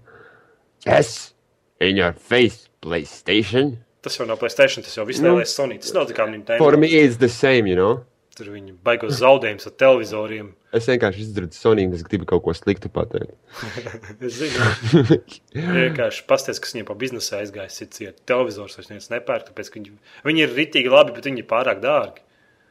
Speaker 2: Es, in your face, PlayStation.
Speaker 3: Tas jau nav Playstation, tas jau viss lielais Sony. Tas nav tā kā
Speaker 2: For me
Speaker 3: Nintendo.
Speaker 2: it's the same, you know.
Speaker 3: Tur viņi baigos zaudējums ar televizoriem.
Speaker 2: Es vienkārši izdarīju Soniju, es gribu kaut ko sliktu pateikt. [LAUGHS]
Speaker 3: Es zinu, vienkārši pasties, kas viņiem pa biznesā aizgāja. Cits televizors vairs neviens nepērk, tāpēc ka viņi, viņi ir ritīgi labi, bet viņi ir pārāk dārgi.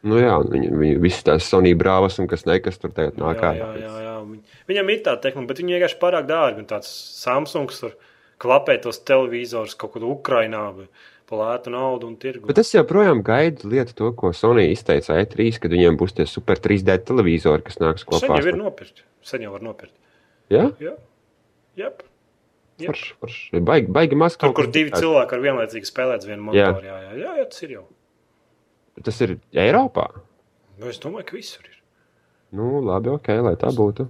Speaker 2: Nu jā, un viņi, viņi visi tās Sonija brāvas un kas nekas tur tagad nāk
Speaker 3: jā, jā, jā, jā. Viņ- Viņam ir tāda tehnika, bet viņi vienkārši pārāk dārgi. Un tāds Samsungs tur klapē tos televizors kaut kur Ukrainā. vai pa Lētu naudu un tirgu.
Speaker 2: Bet es joprojām gaidu lietu, to, ko Sonija izteica E3, kad viņiem būs tie super 3D televizori, kas nāks
Speaker 3: Sen
Speaker 2: kopā.
Speaker 3: jau ir nu. nopirkt. Sen jau var nopirkt.
Speaker 2: Jā,
Speaker 3: Jā, Jep. Jep.
Speaker 2: forši. forši. Baigi, baigi maz
Speaker 3: Tur,
Speaker 2: kaut
Speaker 3: kur
Speaker 2: kas
Speaker 3: divi
Speaker 2: tāds.
Speaker 3: cilvēki ar vienlaicīgi spēlē uz
Speaker 2: Jā.
Speaker 3: vienu monētu. Jā. Jā, jā, jā, tas ir jau.
Speaker 2: Tas ir Eiropā.
Speaker 3: Nu, es domāju, ka visur ir.
Speaker 2: Nu, labi, ok, lai tā būtu.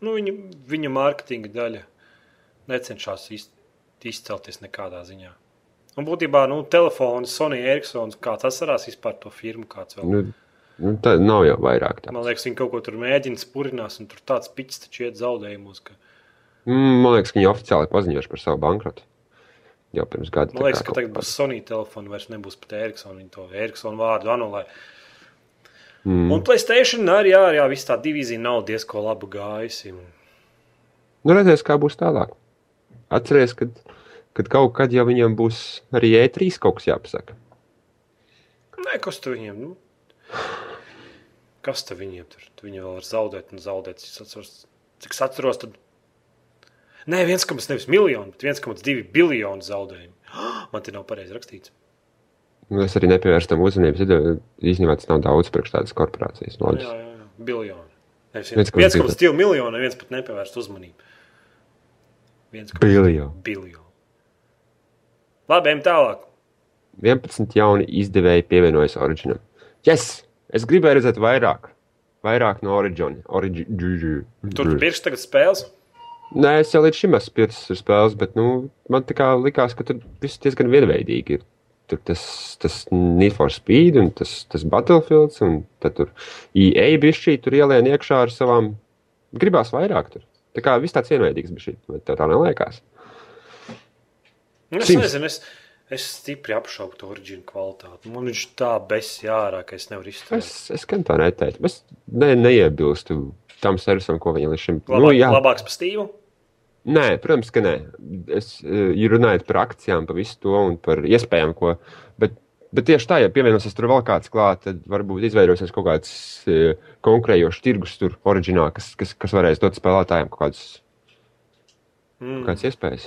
Speaker 3: Nu, viņa, viņa mārketinga daļa necenšas iz, izcelties nekādā ziņā. Un būtībā nu, telefons, Sony Eriksons, kāds atcerās vispār to firmu, kāds vēl.
Speaker 2: Nu, nu, tā nav jau vairāk tā.
Speaker 3: Man liekas, viņi kaut ko tur mēģina spurināt, un tur tāds pičs taču iet zaudējumos. Ka...
Speaker 2: Mm, Man liekas, ka viņi oficiāli paziņojuši par savu bankrotu. Jau pirms gada. tā
Speaker 3: Man Nu, liekas,
Speaker 2: kā
Speaker 3: ka
Speaker 2: kaut
Speaker 3: tagad
Speaker 2: kā-
Speaker 3: būs Sony telefona, vairs nebūs pat Eriksona. Viņi to Eriksona vārdu anulē.
Speaker 2: Mm.
Speaker 3: Un Playstation arī, jā, jā, viss tā divīzija nav diezko labi gājusi. Un...
Speaker 2: Nu, redzēs, kā būs tālāk. Atcerieties, kad, kad kaut kad jau viņiem būs arī E3 kaut kas jāpasaka.
Speaker 3: Nē, kas tur viņiem? Nu? Kas tur viņiem tur? Tu Viņi vēl var zaudēt, un zaudēt. Cik es atceros, cik es atceros tad. Nē, 1,2 miljonu, bet 1,2 biljonu zaudējumu. [GASPS] Man te nav pareizi rakstīts.
Speaker 2: Nu, es arī nepievēršu tam uzmanību. tad, Īstenībā tas nav daudz priekš tādas korporācijas.
Speaker 3: Jā,
Speaker 2: Loģis.
Speaker 3: jā, jā. biljonu. Nevis
Speaker 2: 1,2.
Speaker 3: 1,2 miljonu, neviens pat nepievērst uzmanību. 1,2
Speaker 2: Biljonu.
Speaker 3: biljonu. Labi, ejam tālāk.
Speaker 2: 11 jauni izdevēji pievienojas Originam. Yes! Es gribēju redzēt vairāk. Vairāk no Origina. Origi...
Speaker 3: Tur tu pirksti tagad spēles.
Speaker 2: Nē, es jau līdz šim esmu piecas ar spēles, bet nu, man tā kā likās, ka tur viss diezgan vienveidīgi ir. Tur tas, tas Need for Speed un tas, tas Battlefields, un tad tur EA bija šī, tur ielēna iekšā ar savām. Gribās vairāk tur. Tā kā viss tāds vienveidīgs bija šī, vai tev tā neliekas?
Speaker 3: Nu, Es
Speaker 2: Sims.
Speaker 3: nezinu, es, es stipri apšaubu to orģinu kvalitāti. Man viņš tā besjārā, ka es nevaru
Speaker 2: Es,
Speaker 3: izturēt.
Speaker 2: es gan tā neteiktu. Es ne, neiebilstu tam servisam, ko viņi līdz šim
Speaker 3: Labāk, nu,
Speaker 2: jā.
Speaker 3: labāks par Steve'u.
Speaker 2: Nē, protams, ka nē. Es eh, runāju par akcijām, par visu to un par iespējām, ko. Bet, bet tieši tā, ja pievienosies tur vēl kāds klāts, tad varbūt izveidosies kaut kāds eh, konkurējošs tirgus tur, oriģinālā, kas, kas, kas varēs dot spēlētājiem kaut kādas,
Speaker 3: Mm.
Speaker 2: kaut kādas iespējas.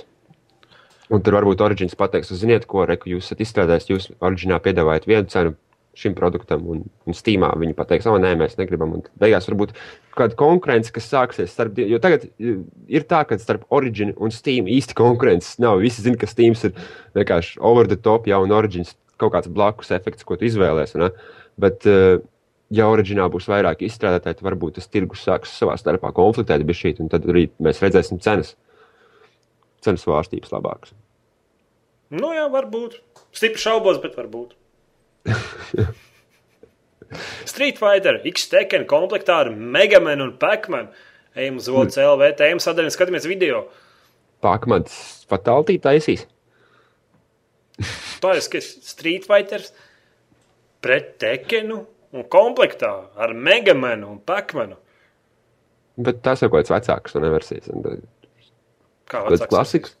Speaker 2: Un tur varbūt oriģināls pateiks, "Nu, ziniet, ko reku jūs esat izstrādājis. Jūs oriģinālā piedāvājat vienu cenu šim produktam, un, un Steamā viņi pateiks, ah, nē, mēs negribam. Un beigās varbūt kāda konkurence, kas sāksies starp diviem. Jo tagad i, ir tā, ka starp Origin un Steam īsti konkurences nav. Visi zina, ka Steam ir vienkārši over the top, jau un Origins kaut kāds blakus efekts, ko tu izvēlēsies. ne? Bet, eh, ja oriģinālā būs vairāk izstrādātāji, tad varbūt tas tirgus sāks savā starpā konfliktēt, bet šī tad arī mēs redzēsim cenas. Cenas svārstības labākas.
Speaker 3: Nu, jā, varbūt. Stipri šaubos, bet
Speaker 2: [LAUGHS]
Speaker 3: varbūt. Street Fighter, X-Tekken komplektā ar Megaman un Pac-Man. Ejam uz OCLV, ejam sadaļu un skatāmies video.
Speaker 2: Pakāpienas fatalitāte taisīs.
Speaker 3: Tā ir skats Street Fighter pret Tekenu un komplektā ar Megamanu un Pac-Manu.
Speaker 2: Bet tas jau kaut kāds vecāks no versijas.
Speaker 3: Kā
Speaker 2: Kāds
Speaker 3: vecāks?
Speaker 2: klasiks?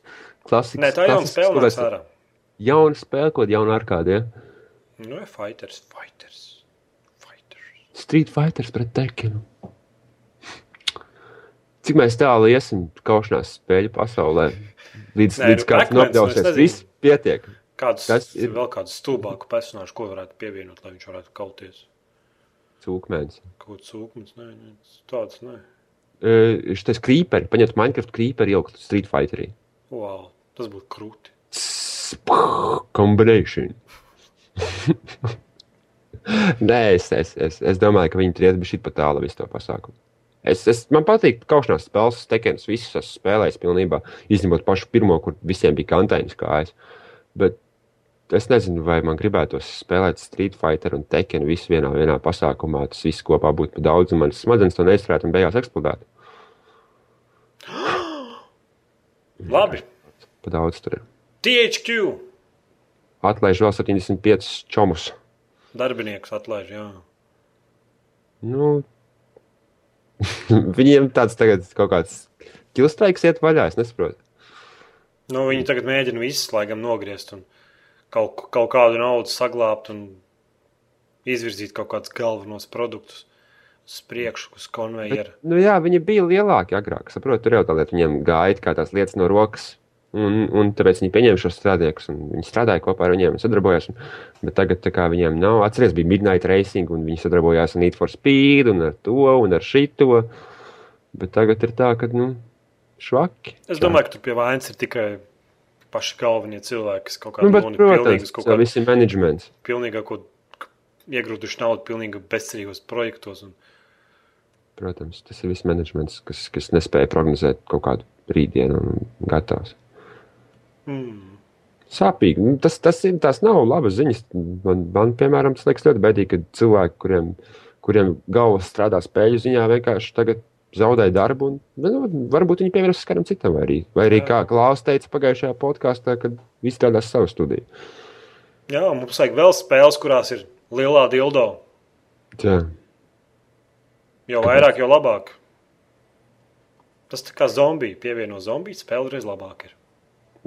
Speaker 2: Klasiks,
Speaker 3: Nē, tā jau ir
Speaker 2: klasisks,
Speaker 3: spēle,
Speaker 2: kurās-
Speaker 3: kas ārā.
Speaker 2: Jauna spēle, ko jauna ar kādiem.
Speaker 3: Nu, ir fighters, fighters, fighters.
Speaker 2: Street Fighters pret Tekinu. Cik mēs tālu iesim kaušanās spēļu pasaulē? Līdz,
Speaker 3: Nē,
Speaker 2: Nē, līdz kāds
Speaker 3: nu, Pac-Mans, nu, es
Speaker 2: nopļausies.
Speaker 3: nezinu.
Speaker 2: Viss pietiek.
Speaker 3: Kādus
Speaker 2: Tas
Speaker 3: ir...
Speaker 2: ir-
Speaker 3: vēl kādus stulbākus personāžus, ko varētu pievienot, lai viņš varētu kauties?
Speaker 2: Cūkmēns.
Speaker 3: Kaut kāds sūknis, nē, nē, tāds nē.
Speaker 2: Uh, šis krīperi, paņemt Minecraft krīperi ielikt Street Fighterī.
Speaker 3: Wow, Tas būtu krūti.
Speaker 2: Combination. [LAUGHS] Nē, es, es, es, es domāju, ka viņi tur iet bišķi pat tālu visu to pasākumu. Es, es, man patīk kaušanās spēles, tekenas, visas esmu spēlējis pilnībā, izņemot pašu pirmo, kur visiem bija kantainas kājas. Bet es nezinu, vai man gribētos spēlēt Street Fighter un Tekenu visu vienā, vienā pasākumā. Tas viss kopā būtu pa daudz, un manas smadzenes to neizturētu un beigās eksplodētu.
Speaker 3: Labi.
Speaker 2: Pa daudz tur ir.
Speaker 3: THQ
Speaker 2: Atlaiž vēl 75 čomus.
Speaker 3: darbinieks atlaiž. Jā.
Speaker 2: Nu, [LAUGHS] viņiem tāds tagad kaut kāds ķilstraiks iet vaļā, es nesaprotu.
Speaker 3: Nu, viņi tagad mēģina visu laikam nogriezt un kaut, ko- kaut kādu naudu saglabāt un izvirzīt kaut kādus galvenos produktus uz priekšu, uz konveijera.
Speaker 2: Nu, jā, viņi bija lielāki agrāk. Saprotu, tur jau tā lieta, viņiem gāja kā tās lietas no rokas. Un, un tāpēc viņi pieņēma šos strādniekus. un Viņi strādāja kopā ar viņiem, un sadarbojās. un- Bet tagad tā kā, viņiem nav. Atcerieties, bija Midnight Racing, un viņi sadarbojās ar Need for Speed, un ar to, un ar šito. Bet tagad ir tā, ka nu, švaki.
Speaker 3: Es domāju, ka tur pie vainas ir tikai paši galvenie cilvēki, kas kaut kādā
Speaker 2: nu, bet,
Speaker 3: veidā
Speaker 2: protams,
Speaker 3: pilnīgi
Speaker 2: tas
Speaker 3: kaut
Speaker 2: ir
Speaker 3: kādā
Speaker 2: visi managements.
Speaker 3: pilnīgāko iegrūduši naudu, pilnīgi bezcerīgos projektos. Un...
Speaker 2: Protams, tas ir viss managements, kas, kas nespēja prognozēt kaut kādu rītdienu un gatavs.
Speaker 3: Mm.
Speaker 2: Sāpīgi. Nu, Tas, tas, ir- tas nav labas ziņas. Man, man piemēram, tas liekas ļoti bēdīgi, ka cilvēki, kuriem, kuriem galva strādā spēļu ziņā, vienkārši tagad zaudēja darbu. Un, nu, varbūt viņi pievērsīs kādam citam. Vai arī, vai arī
Speaker 3: Jā.
Speaker 2: kā Klaus teica pagājušajā podkāstā, kad viņš strādās savu studiju.
Speaker 3: Jā, un mums vajag vēl spēles, kurās ir lielā dildo.
Speaker 2: Tā.
Speaker 3: Jo vairāk, jo labāk. Tas tā kā zombija. Pievieno zombiju, spēle reiz labāk. Ir.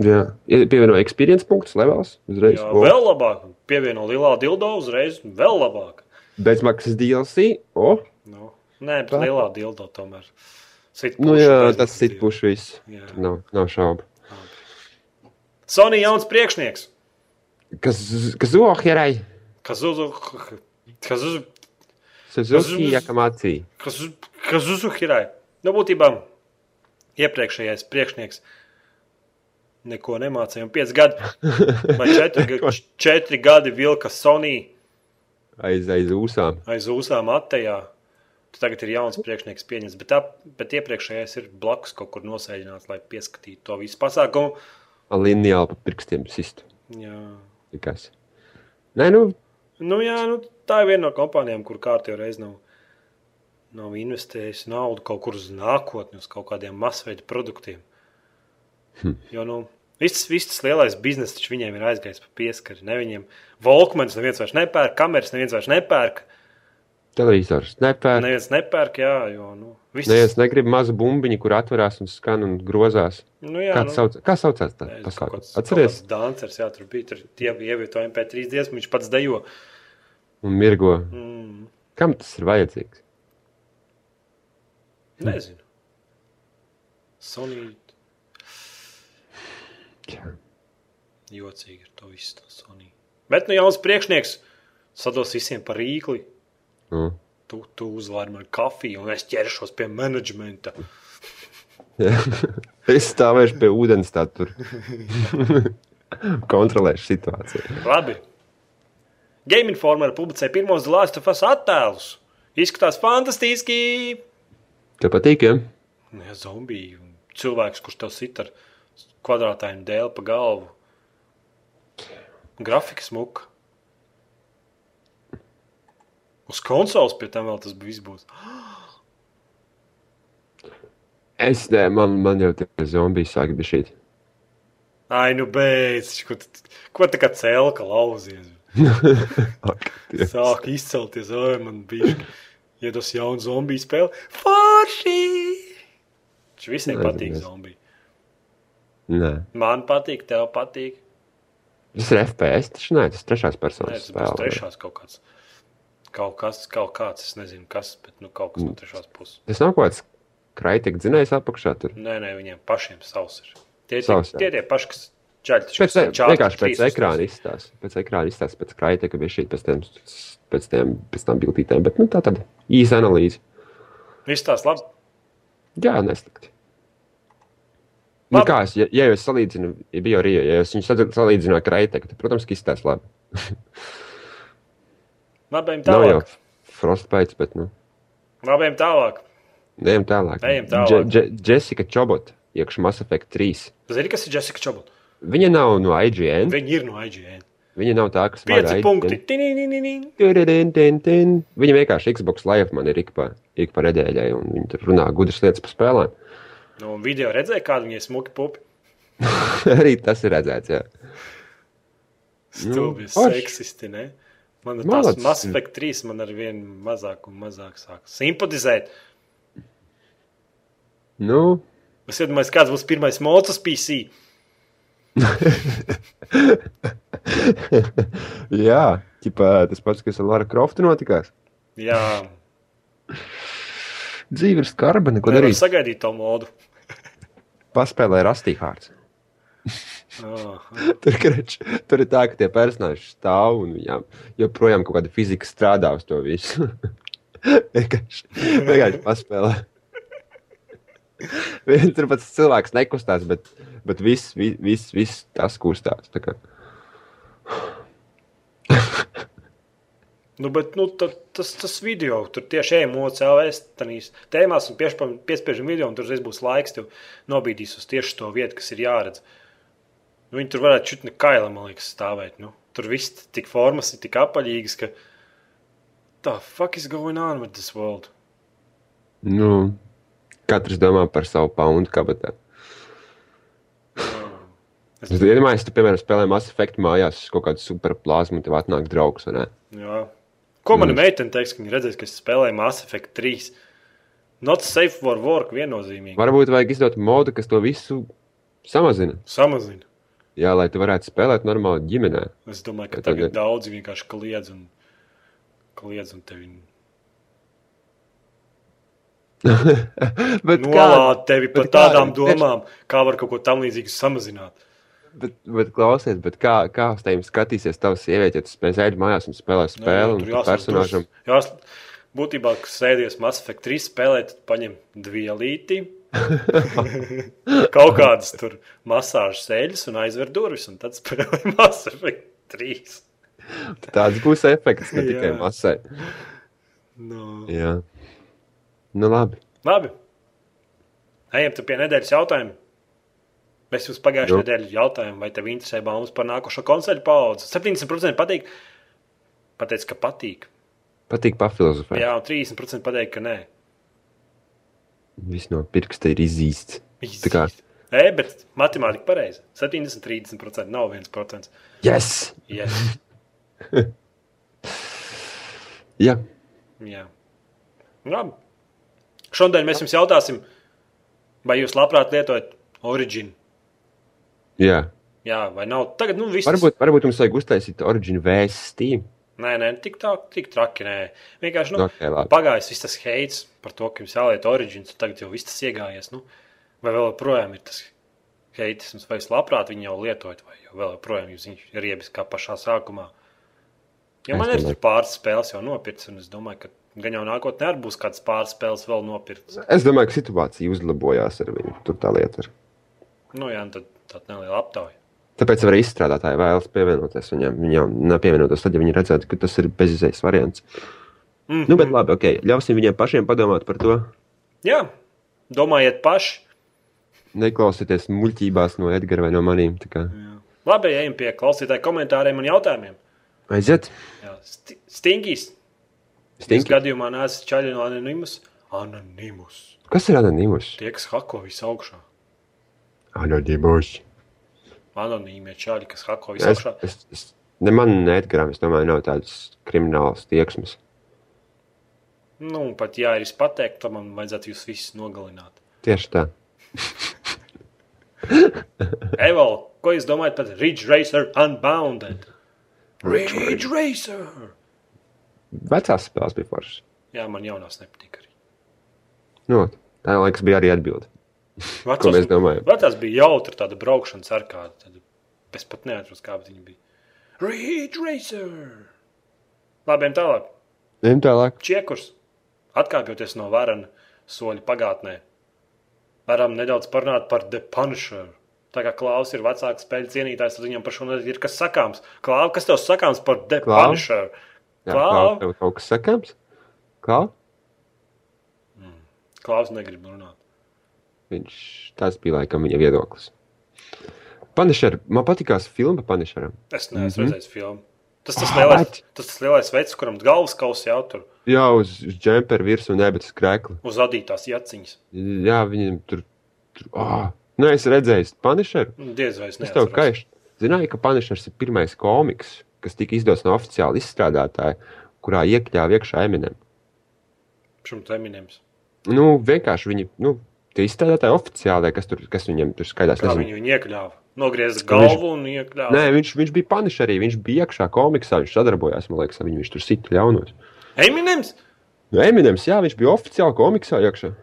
Speaker 2: Jā, Ir pievieno experience punktus, levels uzreiz.
Speaker 3: Jā,
Speaker 2: O,
Speaker 3: vēl labāk. Pievieno lielā dildo uzreiz, vēl labāk.
Speaker 2: Bezmaksas DLC. O,
Speaker 3: Nu, nē, bet
Speaker 2: Tā.
Speaker 3: lielā dildo tomēr. Sit
Speaker 2: nu,
Speaker 3: pušu,
Speaker 2: jā,
Speaker 3: bezmaksas
Speaker 2: tas ir
Speaker 3: dildo.
Speaker 2: puš viss.
Speaker 3: Jā.
Speaker 2: Tur Nav, nav šaubu.
Speaker 3: Sony jauns priekšnieks.
Speaker 2: Kas, kas Zohjerai?
Speaker 3: Kazuzuhirai.
Speaker 2: Suzuki Jakamācija.
Speaker 3: Kazuzuhirai. Nu, būtībā iepriekšējais priekšnieks neko nemācīja. Un 5 gadi vai
Speaker 2: [LAUGHS]
Speaker 3: 4 gadi vilka Sony.
Speaker 2: Aiz, aiz ūsām.
Speaker 3: aiz uzām attējā. Tu Tagad ir jauns priekšnieks pieņemts, bet, tā, bet iepriekšējais ir blakus kaut kur nosēdināts, lai pieskatītu to visu pasākumu.
Speaker 2: lineāli pa pirkstiem sistu.
Speaker 3: Jā,
Speaker 2: Tikas. Nē, nu,
Speaker 3: nu, jā nu, tā ir viena no kompānijām, kur kārtībā reiz nav, nav investējusi naudu kaut kur uz nākotni, uz kaut kādiem masveida produktiem.
Speaker 2: Hm.
Speaker 3: Jo nu, viss, viss tas lielais bizness taču viņiem ir aizgājis pa pieskari. Ne viņiem volkmenis neviens vairs nepērk, kameras neviens vairs nepērk.
Speaker 2: televizors nepērk.
Speaker 3: Neviens nepērk, jā, jo nu, viss
Speaker 2: Nē, es negribu mazu bumbiņu, kur atverās un skan un grozās.
Speaker 3: Nu, jā,
Speaker 2: Kā, nu, sauc, kā saucās tā
Speaker 3: Nezinu, kaut
Speaker 2: pasākums?
Speaker 3: kāds-
Speaker 2: Atceries,
Speaker 3: kaut kāds Dancers, jā, tur bija. Tur tie bija ievietoti MP3 dziesmu, viņš pats dejo.
Speaker 2: un mirgo.
Speaker 3: Mm,
Speaker 2: Kam tas ir vajadzīgs?
Speaker 3: nezinu. Sonī
Speaker 2: Jā.
Speaker 3: jocīgi ir to visu. tā Sonī. Bet nu jauns priekšnieks sados visiem par rīkli.
Speaker 2: Nu. [LAUGHS]
Speaker 3: Tu, tu uzvari man kafiju, un es ķeršos pie menedžmenta.
Speaker 2: Jā. es stāvēšu pie ūdens tā
Speaker 3: [LAUGHS]
Speaker 2: tur. Kontrolēšu situāciju.
Speaker 3: Labi. Game Informer publicēja pirmos Lāstafas attēlus. Izskatās fantastiski!
Speaker 2: Tev patīk, ja?
Speaker 3: Nu, Ja zombija un cilvēks, kurš tev sit ar kvadrātājiem dēli pa galvu. Grafika smuka. Uz konsoles pie tam vēl tas bija viss būs.
Speaker 2: Es, nē, man, man jau tie zombiji sāk bišķīt.
Speaker 3: Ai, nu beidz, ko, tu- ko tā kā cēlka lauzies.
Speaker 2: Ak, tie.
Speaker 3: Sāk izcelties, oi, man bija iedos jaunu zombiju spēli. Forši! Viņš visiem
Speaker 2: Nezinu,
Speaker 3: patīk
Speaker 2: nezinu.
Speaker 3: zombiju.
Speaker 2: Nē.
Speaker 3: Man patīk, tev patīk.
Speaker 2: Tas ir FPS, taču nē, tas trešās
Speaker 3: Nē,
Speaker 2: personas
Speaker 3: tas būs
Speaker 2: spēle.
Speaker 3: trešās kaut kāds. Kaut kas, kaut kāds, es nezinu, kas, bet nu, kaut
Speaker 2: Mm.
Speaker 3: kas no trešās puses.
Speaker 2: Tas nav kaut kāds kraitīgs dzinējs apakšā. Tur.
Speaker 3: Nē, nē, viņiem pašiem savs ir. Tie ir
Speaker 2: Savs,
Speaker 3: tie,
Speaker 2: jā.
Speaker 3: tie, tie paši, kas čaļi.
Speaker 2: Pēc, vienkārši pēc ekrāna izstāsta. Pēc ekrāna izstāsta, pēc kraitīga bija šī pēc tiem, pēc tiem, pēc tām bildītēm. Bet nu, tā tad īsa analīze.
Speaker 3: Viss tās labi.
Speaker 2: Jā, neslikti. Nu, kā es, ja, ja es salīdzinu, ja bija arī, ja es viņu salīdzinu ar Kreiteku, tad, protams, ka izstāsta labi.
Speaker 3: Labējiem
Speaker 2: Nav jau
Speaker 3: tālāk.
Speaker 2: frostbaits, bet, nu,
Speaker 3: Labējiem tālāk.
Speaker 2: ejam tālāk.
Speaker 3: Ejam tālāk.
Speaker 2: Dže- Dže- Jessica Čobot, iekšā Mass Effect 3.
Speaker 3: Zini, kas ir Jessica Čabula?
Speaker 2: Viņa nav no IGN,
Speaker 3: Viņi ir no IGN.
Speaker 2: viņa nav tā, kas vada
Speaker 3: Pieci
Speaker 2: IGN.
Speaker 3: punkti. Tinininininin.
Speaker 2: Tududun, tin, tin. Viņa vienkārši Xbox Live man ir ik pa, ik pa nedēļai, un viņa tur runā gudras lietas par spēlēm. [LAUGHS]
Speaker 3: Nu, un video redzēja, kāda viņai smuki pupi.
Speaker 2: Arī tas ir redzēts. Jā. Nu,
Speaker 3: Stulbi,
Speaker 2: forši.
Speaker 3: seksisti, ne? Man tas
Speaker 2: Malacis.
Speaker 3: Mass Effect 3 man ar vien mazāk un mazāk sāk simpatizēt.
Speaker 2: Nu,
Speaker 3: Es iedomājos, kāds būs pirmais mocis PC.
Speaker 2: jā, ķipā, tas pats, kas ar Lara Croftu notikās.
Speaker 3: Jā,
Speaker 2: Dzīve ir skarba, neko
Speaker 3: nevar
Speaker 2: darīt.
Speaker 3: sagaidīt to modu.
Speaker 2: Paspēlē rastīhārds.
Speaker 3: Ah,
Speaker 2: Tur, kreč, tur ir tā, ka tie personāļi stāv un viņām joprojām kaut kāda fizika strādā uz to visu. [LAUGHS] vienkārši, vienkārši paspēlē. [LAUGHS] Vien tur pats cilvēks nekustās, bet, bet viss, vi- viss, viss tas kustās. tā kā.
Speaker 3: Nu, bet nu, tad, tas, tas video, tur tieši ejam uz CLS tādās tēmās un piešpam- piespiežam video, un tur reiz būs laiks, tev nobīdīs uz tieši to vietu, kas ir jāredz. Nu, viņi tur varētu šutni kaila, man liekas, stāvēt. Nu. Tur viss tik formas ir tik apaļīgas, ka tā fuck is going on with this world.
Speaker 2: Nu, katrs domā par savu paunu kabatā. Es iedomājos, tu, piemēram, spēlē Mass Effect mājās uz kaut kādu superplāzmu, un tev atnāk draugs. vai ne?
Speaker 3: Jā. Ko mana
Speaker 2: Mm.
Speaker 3: meitene teiks, kad viņa redzēs, ka es spēlēju Mass Effect 3? Not safe for work, viennozīmīgi.
Speaker 2: Varbūt vajag izdot modu, kas to visu samazina.
Speaker 3: Samazina.
Speaker 2: Jā, lai tu varētu spēlēt normāli ģimenē.
Speaker 3: Es domāju, ka
Speaker 2: Ja
Speaker 3: tagad
Speaker 2: tagad-
Speaker 3: daudzi vienkārši kliedz un, kliedz un tevi Nu,
Speaker 2: Bet kā?
Speaker 3: nolādē tevi par
Speaker 2: bet kā?
Speaker 3: tādām
Speaker 2: Tieši-
Speaker 3: domām, kā var kaut ko tam līdzīgu samazināt.
Speaker 2: Bet, bet klausies, bet kā, kā uz tevi skatīsies tavs sieviete, ja tu spēj sēžot mājās un spēlē spēli?
Speaker 3: Nu, tur
Speaker 2: un tu personāžam,
Speaker 3: Jā, būtībā, kas sēdies Mass Effect 3 spēlē, tad paņem dvielīti.
Speaker 2: [LAUGHS]
Speaker 3: kaut kādas tur masāžas sēļas un aizver durvis, un tad spēlē Mass Effect 3.
Speaker 2: tāds būs efekts,
Speaker 3: [LAUGHS]
Speaker 2: ne tikai
Speaker 3: Jā.
Speaker 2: masai.
Speaker 3: No.
Speaker 2: Jā. Nu, labi.
Speaker 3: Labi. Ejam tu pie nedēļas jautājuma. Mēs jums pagājušajā
Speaker 2: Nu.
Speaker 3: nedēļā jautājām, vai tev interesē baumas par nākošo koncertu paudzi. 70% patīk. Pateic, ka patīk.
Speaker 2: Patīk pafilozofēt.
Speaker 3: Jā, un 30% pateica, ka nē.
Speaker 2: Viss no pirksta ir izīsts.
Speaker 3: Izīst.
Speaker 2: Tā kā,
Speaker 3: Nē, bet matemātika pareizi. 70, 30% nav 1%.
Speaker 2: yes!
Speaker 3: Yes. [LAUGHS]
Speaker 2: Jā,
Speaker 3: Jā. Labi. Šodien mēs jums jautāsim, vai jūs labprāt lietojat originu.
Speaker 2: jā.
Speaker 3: Jā, vai nav. Tagad, nu, viss.
Speaker 2: Varbūt, varbūt mums vajag uztaisīt originu vēstījumu.
Speaker 3: Nē, nē, tik, tā, tik traki. Nē. Vienkārši nu,
Speaker 2: Okay, labi.
Speaker 3: pagājis viss tas heits par to, ka jums jāliet origins, un tagad jau viss tas iegājies. Nu, vai vēl joprojām ir tas heits, jums vajag labprāt viņu jau lietot, vai jau vēl joprojām jūs viņu ir iebis kā pašā sākumā. Jo
Speaker 2: Es
Speaker 3: man ir
Speaker 2: domāju-
Speaker 3: tur pāris spēles jau nopirktas, un es domāju, ka gan jau nākotnē arī būs kāds pāris spēles vēl nopirktas.
Speaker 2: Es domāju, ka situācija uzlabojās ar viņu. Tur tā lieta ir.
Speaker 3: Nu, jā, nu tad tāda neliela aptauja.
Speaker 2: Tāpēc arī izstrādātāji vēlas pievienoties viņam. Viņi jau nepievienotos tad, ja viņi redzētu, ka tas ir bezizējas variants.
Speaker 3: Mm.
Speaker 2: Nu, bet labi, ok. Ļausim viņiem pašiem padomāt par to.
Speaker 3: Jā, domājiet paši.
Speaker 2: Neklausieties muļķībās no Edgara vai no maniem. tā kā.
Speaker 3: Jā. Labi, ejam pie klausītāju komentāriem un jautājumiem.
Speaker 2: Aiziet!
Speaker 3: Jā, sti stingīs. Jūs
Speaker 2: Stinki.
Speaker 3: gadījumā neesat čaļi no anonīmas. Anonīmus.
Speaker 2: Kas ir anonīms?
Speaker 3: Tie, kas hako visu augšā.
Speaker 2: Anonīms.
Speaker 3: Anonīmie čaļi, kas hako visu
Speaker 2: Es,
Speaker 3: augšā.
Speaker 2: es, es, ne man, ne Edgaram, es domāju, nav tādas kriminālas tieksmes.
Speaker 3: Nu, un pat ja ir pateikt, tad man vajadzētu jūs visus nogalināt.
Speaker 2: Tieši tā.
Speaker 3: Eval, ko jūs domājat par Ridge Racer Unbounded? Ridge Racer!
Speaker 2: Vecās spēles bija foršas.
Speaker 3: Jā, man jaunās nepatīk arī.
Speaker 2: Nu, tā laikas bija arī atbilde.
Speaker 3: Vecās,
Speaker 2: Ko mēs domājam?
Speaker 3: Vecās bija jautra tāda braukšanas ar kādu. Tāda. Es pat neatceros, kāda viņa bija. Ridge Racer! Labi, ejam tālāk.
Speaker 2: Ejam tālāk.
Speaker 3: Čiekurs, atkāpjoties no varana soļa pagātnē, varam nedaudz parunāt par The Punisher. Tā kā Klaus ir vecāks spēļu cienītājs, tad viņam par šo nedēļu ir kas sakāms. Klau, kas tev sakāms par The
Speaker 2: Klau?
Speaker 3: Punisher?
Speaker 2: Jā,
Speaker 3: Klau?
Speaker 2: Klau, tev kaut kas sakāms? Klau?
Speaker 3: Klaus negrib runāt.
Speaker 2: Viņš, tas bija laikam viņa viedoklis. Punisher, man patīkās filma Punisheram.
Speaker 3: Es neesmu mm -hmm.
Speaker 2: Mhm.
Speaker 3: redzējis filmu. Tas tas
Speaker 2: Ah,
Speaker 3: lielais,
Speaker 2: bet-
Speaker 3: tas, tas lielais veids, kuram galvas kausā jau tur
Speaker 2: Jā, uz uz džempera virsmu nebetas krēkla.
Speaker 3: uz adītās jaciņas.
Speaker 2: Jā, viņam tur. tur oh. Nē, es redzēju Punisheru.
Speaker 3: Nu, Diez vai es
Speaker 2: Es tev
Speaker 3: neesmu.
Speaker 2: kaišu. Zināju, ka Punishers ir pirmais komiks, kas tika izdots no oficiāla izstrādātāja, kurā iekļāva iekšā Eminem.
Speaker 3: Šim terminiem.
Speaker 2: Nu, vienkārši viņi, nu, tie izstrādātāji oficiālai, kas, tur, kas viņam tur skaidrs,
Speaker 3: Kā
Speaker 2: nezinu,
Speaker 3: viņu viņi iekļāva? Nogrieza galvu un iekļāva.
Speaker 2: Nē, viņš, viņš bija panišs arī. Viņš bija iekšā komiksā, viņš sadarbojās, man liekas, ar viņu viņš tur sita ļaunos.
Speaker 3: Eminems?
Speaker 2: Nu, Eminems, jā, viņš bija oficiāli komiksā iekšā.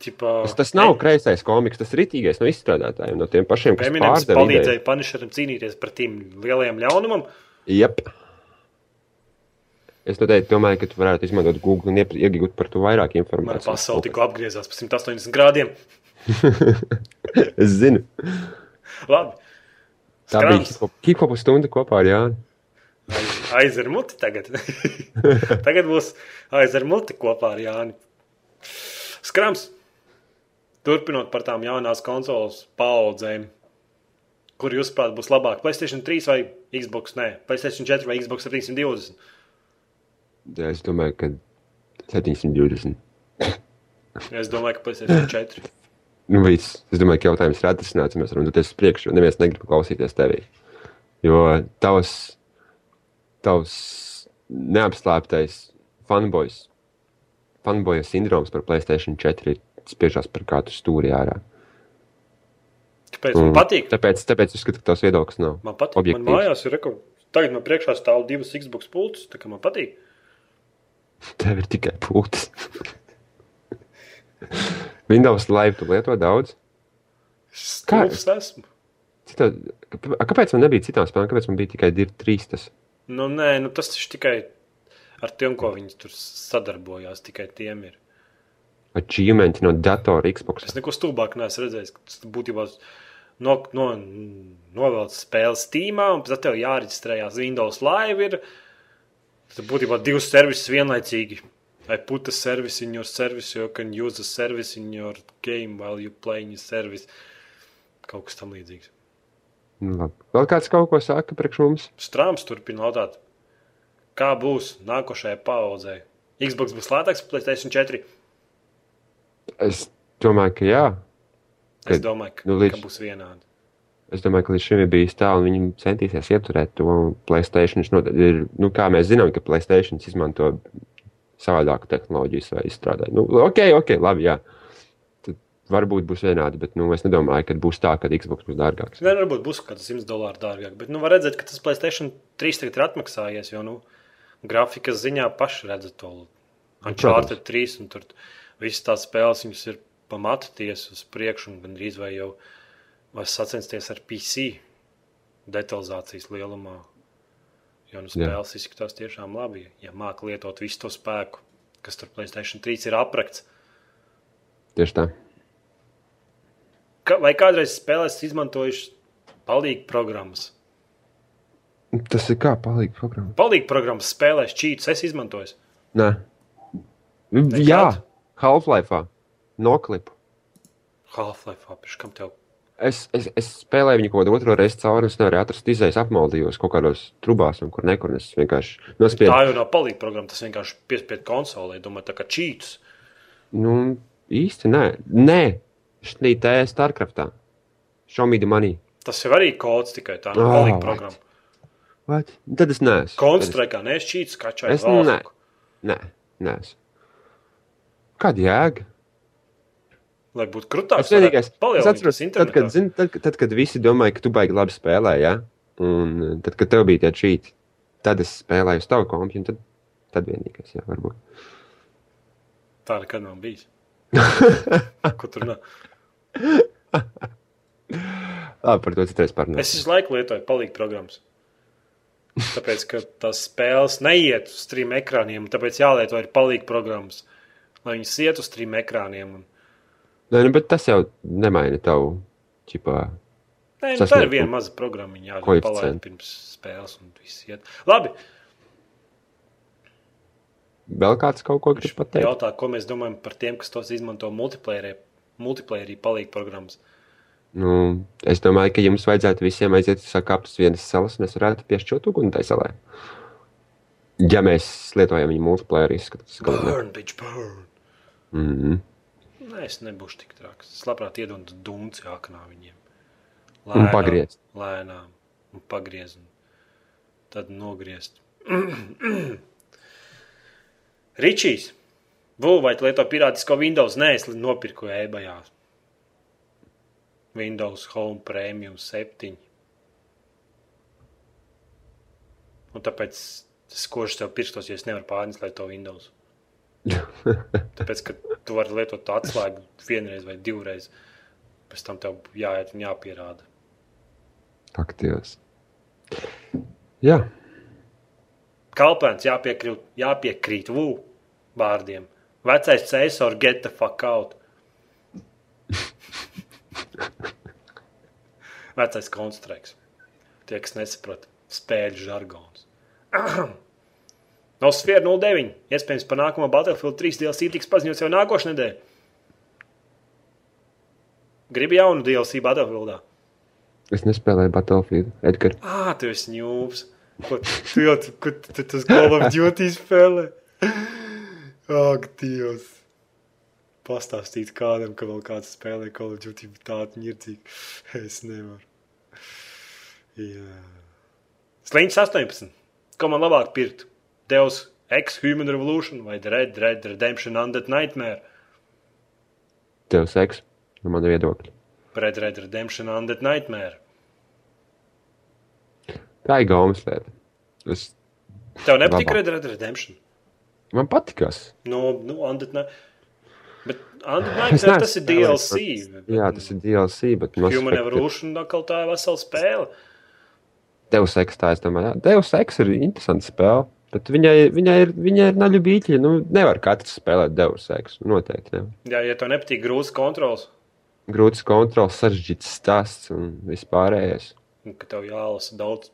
Speaker 3: Tipā,
Speaker 2: Tas, tas nav kreisais komiks, tas ir rītīgais no izstrādātājiem, no tiem pašiem, kas
Speaker 3: Eminems
Speaker 2: pārdeva ideju.
Speaker 3: palīdzēja Punisheram cīnīties pret tiem lielajiem ļaunumam.
Speaker 2: Jep. Es noteikti domāju, ka tu varētu izmantot Google un iep- iegūt par to vairāk
Speaker 3: Mana
Speaker 2: informācijas.
Speaker 3: pasaule tikko apgriezās pa 180 grādiem.
Speaker 2: es zinu.
Speaker 3: Labi.
Speaker 2: Tā Skrams.
Speaker 3: Skrams.
Speaker 2: bija hip-hop stunda kopā ar Jānu.
Speaker 3: Aiz- Aiz ar muti
Speaker 2: [LAUGHS]
Speaker 3: tagad. tagad būs aiz ar muti kopā ar Jāni. Skrams. Turpinot par tām jaunās konsoles paudzēm, kur jūs prāt būs labāk? Playstation 3 vai Xbox? Nē, Playstation 4 vai Xbox 720?
Speaker 2: Es domāju, ka 720.
Speaker 3: Es domāju, ka Playstation 4.
Speaker 2: Nu, viss. Es domāju, ka jautājums ir atrisināts. Mēs varam doties uz priekšu, jo neviens negrib klausīties tevī. Jo tavs, tavs neapslēptais fanboys, fanboja sindroms par Playstation 4 ir spiežās par kādu stūri ārā.
Speaker 3: Kāpēc
Speaker 2: Mm.
Speaker 3: man patīk?
Speaker 2: Tāpēc, tāpēc es skatu, ka tavs viedoklis nav.
Speaker 3: Man patīk. Objektīvs. Man
Speaker 2: Objektīvs.
Speaker 3: mājās ir rekords. Tagad man priekšā stāv divas Xbox pultas, tā kā man patīk.
Speaker 2: Tev ir tikai pūtas. Windows Live tu lieto daudz. Kā?
Speaker 3: Stulbs esmu.
Speaker 2: Citā, kāpēc man nebija citām spēlēm? Kāpēc man bija tikai divi, trīs? Tas?
Speaker 3: Nu, nē, nu, tas taču tikai ar tiem, ko viņi tur sadarbojās, tikai tiem ir.
Speaker 2: Achievementi no datora Xbox.
Speaker 3: Es neko stulbāk neesmu redzējis. ka Tas būtībā no, no, novelc spēles tīmā, un tad tev jāreģistrējās Windows Live. Ir. Tad būtībā divas services vienlaicīgi. I put a service in your service, you can use a service in your game while you playing your service. Kaut kas tam līdzīgs.
Speaker 2: Nu, labi. Vēl kāds kaut ko saka priekš mums?
Speaker 3: Strāms turpina jautāt, kā būs nākošajai paudzei. Xbox būs lētāks, Playstation 4.
Speaker 2: Es domāju, ka jā.
Speaker 3: Es
Speaker 2: Kad-
Speaker 3: domāju, ka,
Speaker 2: nu,
Speaker 3: nu,
Speaker 2: līdz-
Speaker 3: ka būs vienādi.
Speaker 2: Es domāju, ka līdz šim ir bijis tā, un viņi centīsies ieturēt to. un PlayStation noteikti ir, nu, kā mēs zinām, ka Playstation izmanto savādāku tehnoloģiju savai izstrādē. Nu, ok, ok, labi, jā. Tad varbūt būs vienādi, bet nu, es nedomāju, ka būs tā, ka Xbox būs dārgāks.
Speaker 3: Nē, varbūt būs kaut kāds 100 dolāru dārgāk, bet nu, var redzēt, ka tas Playstation 3 tagad ir atmaksājies. Jo nu, grafikas ziņā paši redz to Uncharted 3 un tur visas tās spēles viņas ir pamatoties uz priekšu un gandrīz vai jau var sacensties ar PC detalizācijas lielumā. Jo nu,
Speaker 2: Jā.
Speaker 3: spēles Jā. izskatās tiešām labi, ja māca lietot visu to spēku, kas tur Playstation 3 ir aprakts.
Speaker 2: Tieši tā.
Speaker 3: Ka, vai kādreiz spēlēs izmantojuši palīgu programmas?
Speaker 2: Tas ir kā palīga programma.
Speaker 3: Palīgi programmas spēlēs, čītus es izmantoju.
Speaker 2: Nē, Nekad? jā, Half-Life, Noklipa.
Speaker 3: Half-Life, apš, kam tev?
Speaker 2: Es, es, es spēlēju viņu kaut kādu otro reizi cauri, un es nevarēju atrast izējas, apmaldījos kaut kādos trubās, un kur nekur un es vienkārši
Speaker 3: Jā.
Speaker 2: nospiedu.
Speaker 3: Tā jau nav palīga programma, tas vienkārši piespiedu konsolē. Domāju, tā kā čītus.
Speaker 2: Nu, īsti nē, nē, šī tā ir Starcraftā. Šomīdi manī.
Speaker 3: Tas jau arī kods tikai tā, nav
Speaker 2: Ah,
Speaker 3: palīga
Speaker 2: vai.
Speaker 3: programma.
Speaker 2: What? Tad es neesmu. Tad
Speaker 3: Konstraikā, nē, es čītus kačāju.
Speaker 2: Es ne. es- Nē, neesmu. Kāda jēga?
Speaker 3: Lai būtu krūtāk,
Speaker 2: Tas vienīgais,
Speaker 3: palīgs.
Speaker 2: kas man ir. Tad, kad, zin, tad, tad, kad visi domāja, ka tu baigi labi spēlē, ja? un eh, tad, kad tev bija tie čīti, tad es spēlēju uz tavu kompiju, un tad, tad vienīgais, jā, varbūt.
Speaker 3: Tā nekad nav
Speaker 2: [LAUGHS]
Speaker 3: bijis. Ko tur nav?
Speaker 2: Labi, Ah, par to citreiz parunāsim.
Speaker 3: Es visu laiku lietoju palīgu programmas. Tāpēc, ka tās spēles neiet uz trim ekrāniem, un tāpēc jālieto ir palīga programmas, lai viņas iet uz trim ekrāniem. Un
Speaker 2: Nē, nu, bet tas jau nemaina tavu čipā.
Speaker 3: Nē, nu, tā
Speaker 2: Sasniegt
Speaker 3: ir viena maza programma, jā, ko
Speaker 2: koeficientu.
Speaker 3: palaid pirms spēles un viss iet. Labi,
Speaker 2: Vēl kāds kaut ko grib pateikt?
Speaker 3: jautā, ko mēs domājam par tiem, kas tos izmanto multiplayerē, multiplayerī palīg programmas.
Speaker 2: Nu, es domāju, ka jums vajadzētu visiem aiziet uz sakāptas vienas salas, un es varētu piešķirt uguni tai salai. Ja mēs lietojam viņu multiplayer izskatās. galvenais.
Speaker 3: Burn, bitch, burn!
Speaker 2: Mhm.
Speaker 3: Nē, es nebūšu tik traks. Es labprāt iedodu dunci aknā viņiem.
Speaker 2: Un pagriezt.
Speaker 3: Lēnām, un pagriezt. un Tad nogriezt. [CLEARS THROAT] Ričijs, Vū, vai tu lieto pirātisko Windows? Nē, es li- nopirku ebajā. Windows Home Premium 7. Un tāpēc es kožu sev pirkstos, jo es nevaru pārneslēt to Windows.
Speaker 2: [LAUGHS]
Speaker 3: Tāpēc, ka tu vari lietot to atslēgu vienreiz vai divreiz. Pēc tam tev jāiet un jāpierāda.
Speaker 2: Ak, Dievs. Jā,
Speaker 3: Kalpēns jāpiekrīt, jāpiekrīt vū vārdiem. Vecais cēsors, get the fuck out. Vecais konstrukts. Tie, kas nesaprot spēļu žargons. no sfēras 09. Iespējams, par nākamo Battlefield 3 DLC tiks paziņots jau nākošais nedēļa. Gribu jaunu DLC Battlefieldā.
Speaker 2: es nespēlēju Battlefield. Edgars,
Speaker 3: Ah, tu esi ņūps. Ko tu jau tur Call of Duty spēlē? Ak, Dievs! Pastāstīt kādam, ka vēl kāds spēlē Call of Duty tādu nirdzīgu. Es nevaru. Jā. Sliņķis 18. Ko man labāk pirkt? Deus Ex Human Revolution vai Red Red Redemption Undead Nightmare?
Speaker 2: tev seks, no mana viedokļa.
Speaker 3: Red Red Redemption Undead Nightmare.
Speaker 2: Tā ir gaumas lieta. Es,
Speaker 3: Tev nepatīk
Speaker 2: Labāk.
Speaker 3: Red Red Redemption?
Speaker 2: man patīkās.
Speaker 3: No, nu, Andrija. Bet
Speaker 2: Es
Speaker 3: Andrija
Speaker 2: neesmu
Speaker 3: tas ir
Speaker 2: spēlējis,
Speaker 3: DLC.
Speaker 2: bet- Jā, tas ir DLC, bet Mass
Speaker 3: Human
Speaker 2: Effect ir-
Speaker 3: Evolution atkal tā ir vesela spēle.
Speaker 2: Deus Ex, tā es domāju, jā. Deus Ex ir interesanta spēle. Bet viņai, viņai ir, viņai ir naļu bīķi. Nu, nevar katrs spēlēt Deus Ex. Noteikti. Ne.
Speaker 3: Jā, ja tev nepatīk grūts kontrols,
Speaker 2: Grūts kontrols, sarežģīts stāsts un vispārējais.
Speaker 3: un ka tev jālasa daudz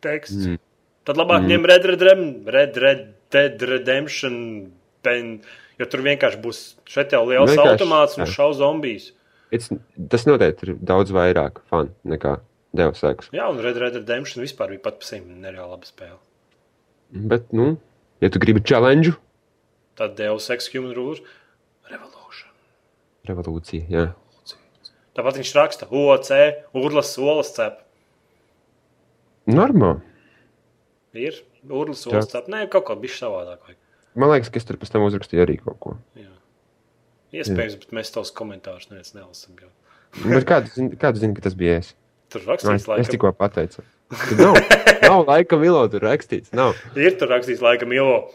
Speaker 3: teksta,
Speaker 2: Mm.
Speaker 3: mm. tad labāk mm. ņem Red Red, Rem, Red, Red Dead Redemption pen, jo tur vienkārši būs šeit jau liels
Speaker 2: Vienkārši,
Speaker 3: vienkārši, automāts un
Speaker 2: jā.
Speaker 3: šau zombijs.
Speaker 2: It's, tas noteikti ir daudz vairāk fanu nekā Deus Ex.
Speaker 3: Jā, un Red Red Redemption vispār bija pat par sevi nereāli laba spēle.
Speaker 2: Bet, nu, ja tu gribi challenge,
Speaker 3: Tad Deus Ex Human Revolution.
Speaker 2: revolūcija. Jā.
Speaker 3: Tāpat viņš raksta OC, Urlas solas cep.
Speaker 2: Normāli.
Speaker 3: Ir urlis, kas tāpat nē, kaut kā bija savādāk. vajag.
Speaker 2: Man liekas, ka es tur pēc tam uzrakstīju arī kaut ko.
Speaker 3: Jā. Iespējams, bet mēs tos komentārus neviens nelasām. jo
Speaker 2: Bet kādu zini, kādu zini, ka tas bija es?
Speaker 3: Tur
Speaker 2: Nu, Es,
Speaker 3: rakstīts,
Speaker 2: es
Speaker 3: laikam,
Speaker 2: tikko pateicu. Tur nav, nav laika vilo, tur rakstīts. Nav.
Speaker 3: ir tur rakstīts, laikam, Ilo.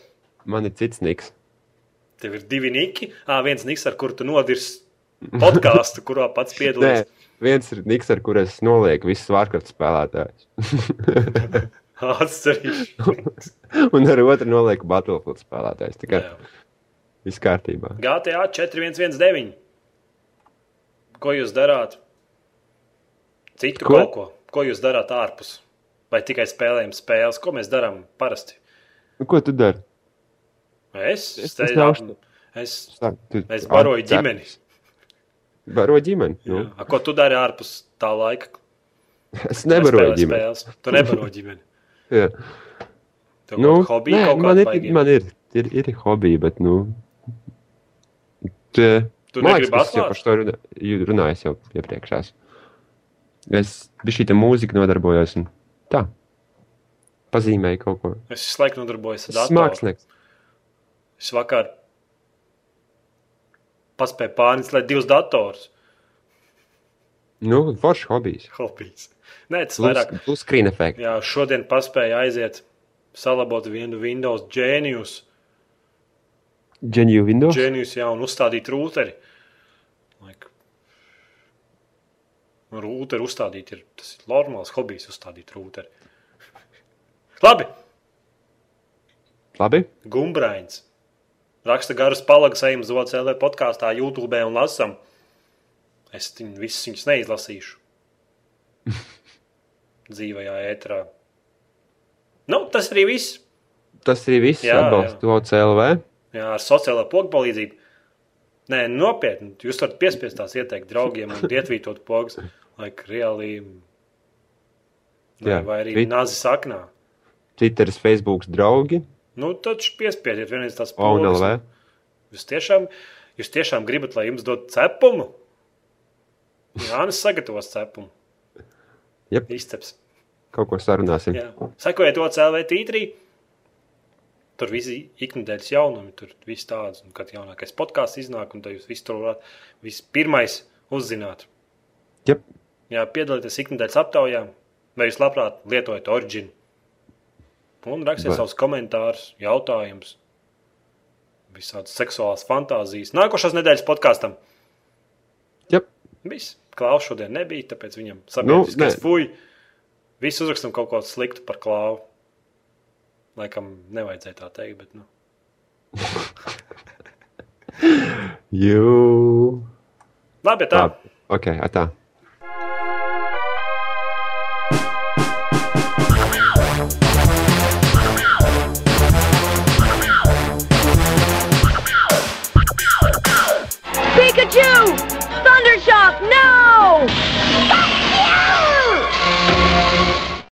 Speaker 2: Man ir cits niks.
Speaker 3: Tev ir divi niki. Ah, viens niks, ar kuru tu nodirsi podkāstu, kurā
Speaker 2: [LAUGHS]
Speaker 3: pats
Speaker 2: Nē,
Speaker 3: piedalījies.
Speaker 2: viens ir niks, ar kuriem es nolieku visus Vārkartas spēlētājus.
Speaker 3: [LAUGHS] Atcerīšos.
Speaker 2: [LAUGHS] Un ar otru nolieku Battlefield spēlētājus. Tā [LAUGHS] kā viss kārtībā.
Speaker 3: GTA 4119. Ko jūs darāt? Citu
Speaker 2: Ko?
Speaker 3: ko? kaut ko. Ko jūs darāt ārpus? Vai tikai spēlējam spēles? Ko mēs darām parasti?
Speaker 2: Nu, ko tu dari?
Speaker 3: Es,
Speaker 2: Es
Speaker 3: es,
Speaker 2: tas
Speaker 3: te,
Speaker 2: ļaušu.
Speaker 3: es
Speaker 2: Sāk, tu,
Speaker 3: Es baroju
Speaker 2: Cer-
Speaker 3: ģimeni.
Speaker 2: Baroju ģimeni. Nu,
Speaker 3: Jā. A, Ko tu dari ārpus tā laika?
Speaker 2: [LAUGHS]
Speaker 3: kad
Speaker 2: es
Speaker 3: tu
Speaker 2: nebaroju
Speaker 3: spēlē
Speaker 2: ģimeni.
Speaker 3: Spēles? Tu nebaroji ģimeni.
Speaker 2: Jā.
Speaker 3: Tev
Speaker 2: Nu,
Speaker 3: nu, hobija
Speaker 2: nē,
Speaker 3: kaut
Speaker 2: man
Speaker 3: kāda
Speaker 2: ir,
Speaker 3: baigīga. Man...
Speaker 2: man ir, ir, ir hobija, bet, nu, tā,
Speaker 3: Tu
Speaker 2: man
Speaker 3: negribi
Speaker 2: liekas, es jau
Speaker 3: atklāt?
Speaker 2: par to runā, jū- runāju, es jau iepriekšās. Es biju šī mūzika nodarbojos un tā, pazīmēju kaut ko.
Speaker 3: Es visu laiku nodarbojos ar
Speaker 2: Es esmu
Speaker 3: datoru.
Speaker 2: mākslinieks.
Speaker 3: Es vakar paspēju pārneslēt divus datorus.
Speaker 2: Nu, forši hobijs.
Speaker 3: Hobijs. Nē, tas
Speaker 2: Plus,
Speaker 3: vairāk.
Speaker 2: plus screen efekts.
Speaker 3: Jā, šodien paspēju aiziet, salabot vienu Windows ģēnijus,
Speaker 2: Geniju Windows. Gen...
Speaker 3: ģēnijus jā, un uzstādīt rūteri. Like. Un Rūteri uzstādīt ir tas ir normāls hobijs uzstādīt rūteri. [LAUGHS] Labi!
Speaker 2: Labi.
Speaker 3: Gumbrains. Raksta garas palagas, ejam uz OCLV podkāstā, YouTube E un lasām. Es viņu, visus viņus neizlasīšu. Dzīvajā ētrā. Nu, tas arī viss.
Speaker 2: Tas arī viss.
Speaker 3: Jā,
Speaker 2: Atbalstu to CLV.
Speaker 3: Jā, ar sociālo pogu palīdzību. Nē, nopietni. Jūs varat piespiest tās ieteikt draugiem un ietvītot pogas, lai reāli. Nē,
Speaker 2: Jā,
Speaker 3: vai arī
Speaker 2: vi-
Speaker 3: nāzi saknā.
Speaker 2: Twitteris, Facebooks draugi.
Speaker 3: Nu, taču piespiediet vienreiz tās
Speaker 2: ONLV.
Speaker 3: Jūs tiešām, jūs tiešām gribat, lai jums dod cepumu? Jā, nē, sagatavos cepumu.
Speaker 2: Jep.
Speaker 3: Izceps.
Speaker 2: Kaut ko sarunāsim.
Speaker 3: Jā. Sekojiet to CLV tītrī. Tur visi ikdienas jaunumi, tur viss tāds, un kad jaunākais podkāsts iznāk, un tad jūs visu tur varat vispirmais uzzināt.
Speaker 2: Jep.
Speaker 3: Jā, piedalieties ikdienas aptaujā, vai jūs labprāt lietojat originu. Un rakstiet
Speaker 2: Vai-
Speaker 3: savus komentārus, jautājumus, visādas seksuālas fantāzijas. Nākošās nedēļas podkāstam
Speaker 2: Jep.
Speaker 3: viss. Klaus šodien nebija, tāpēc viņam sabiedriskais
Speaker 2: nē.
Speaker 3: nu, fuj. Visu uzrakstam kaut ko sliktu par klāvu. Laikam nevajadzēja tā teikt, bet nu.
Speaker 2: Jū.
Speaker 3: labi, ja tā.
Speaker 2: Tā. Ok, atā.
Speaker 1: Pikachu! Thundershock, no!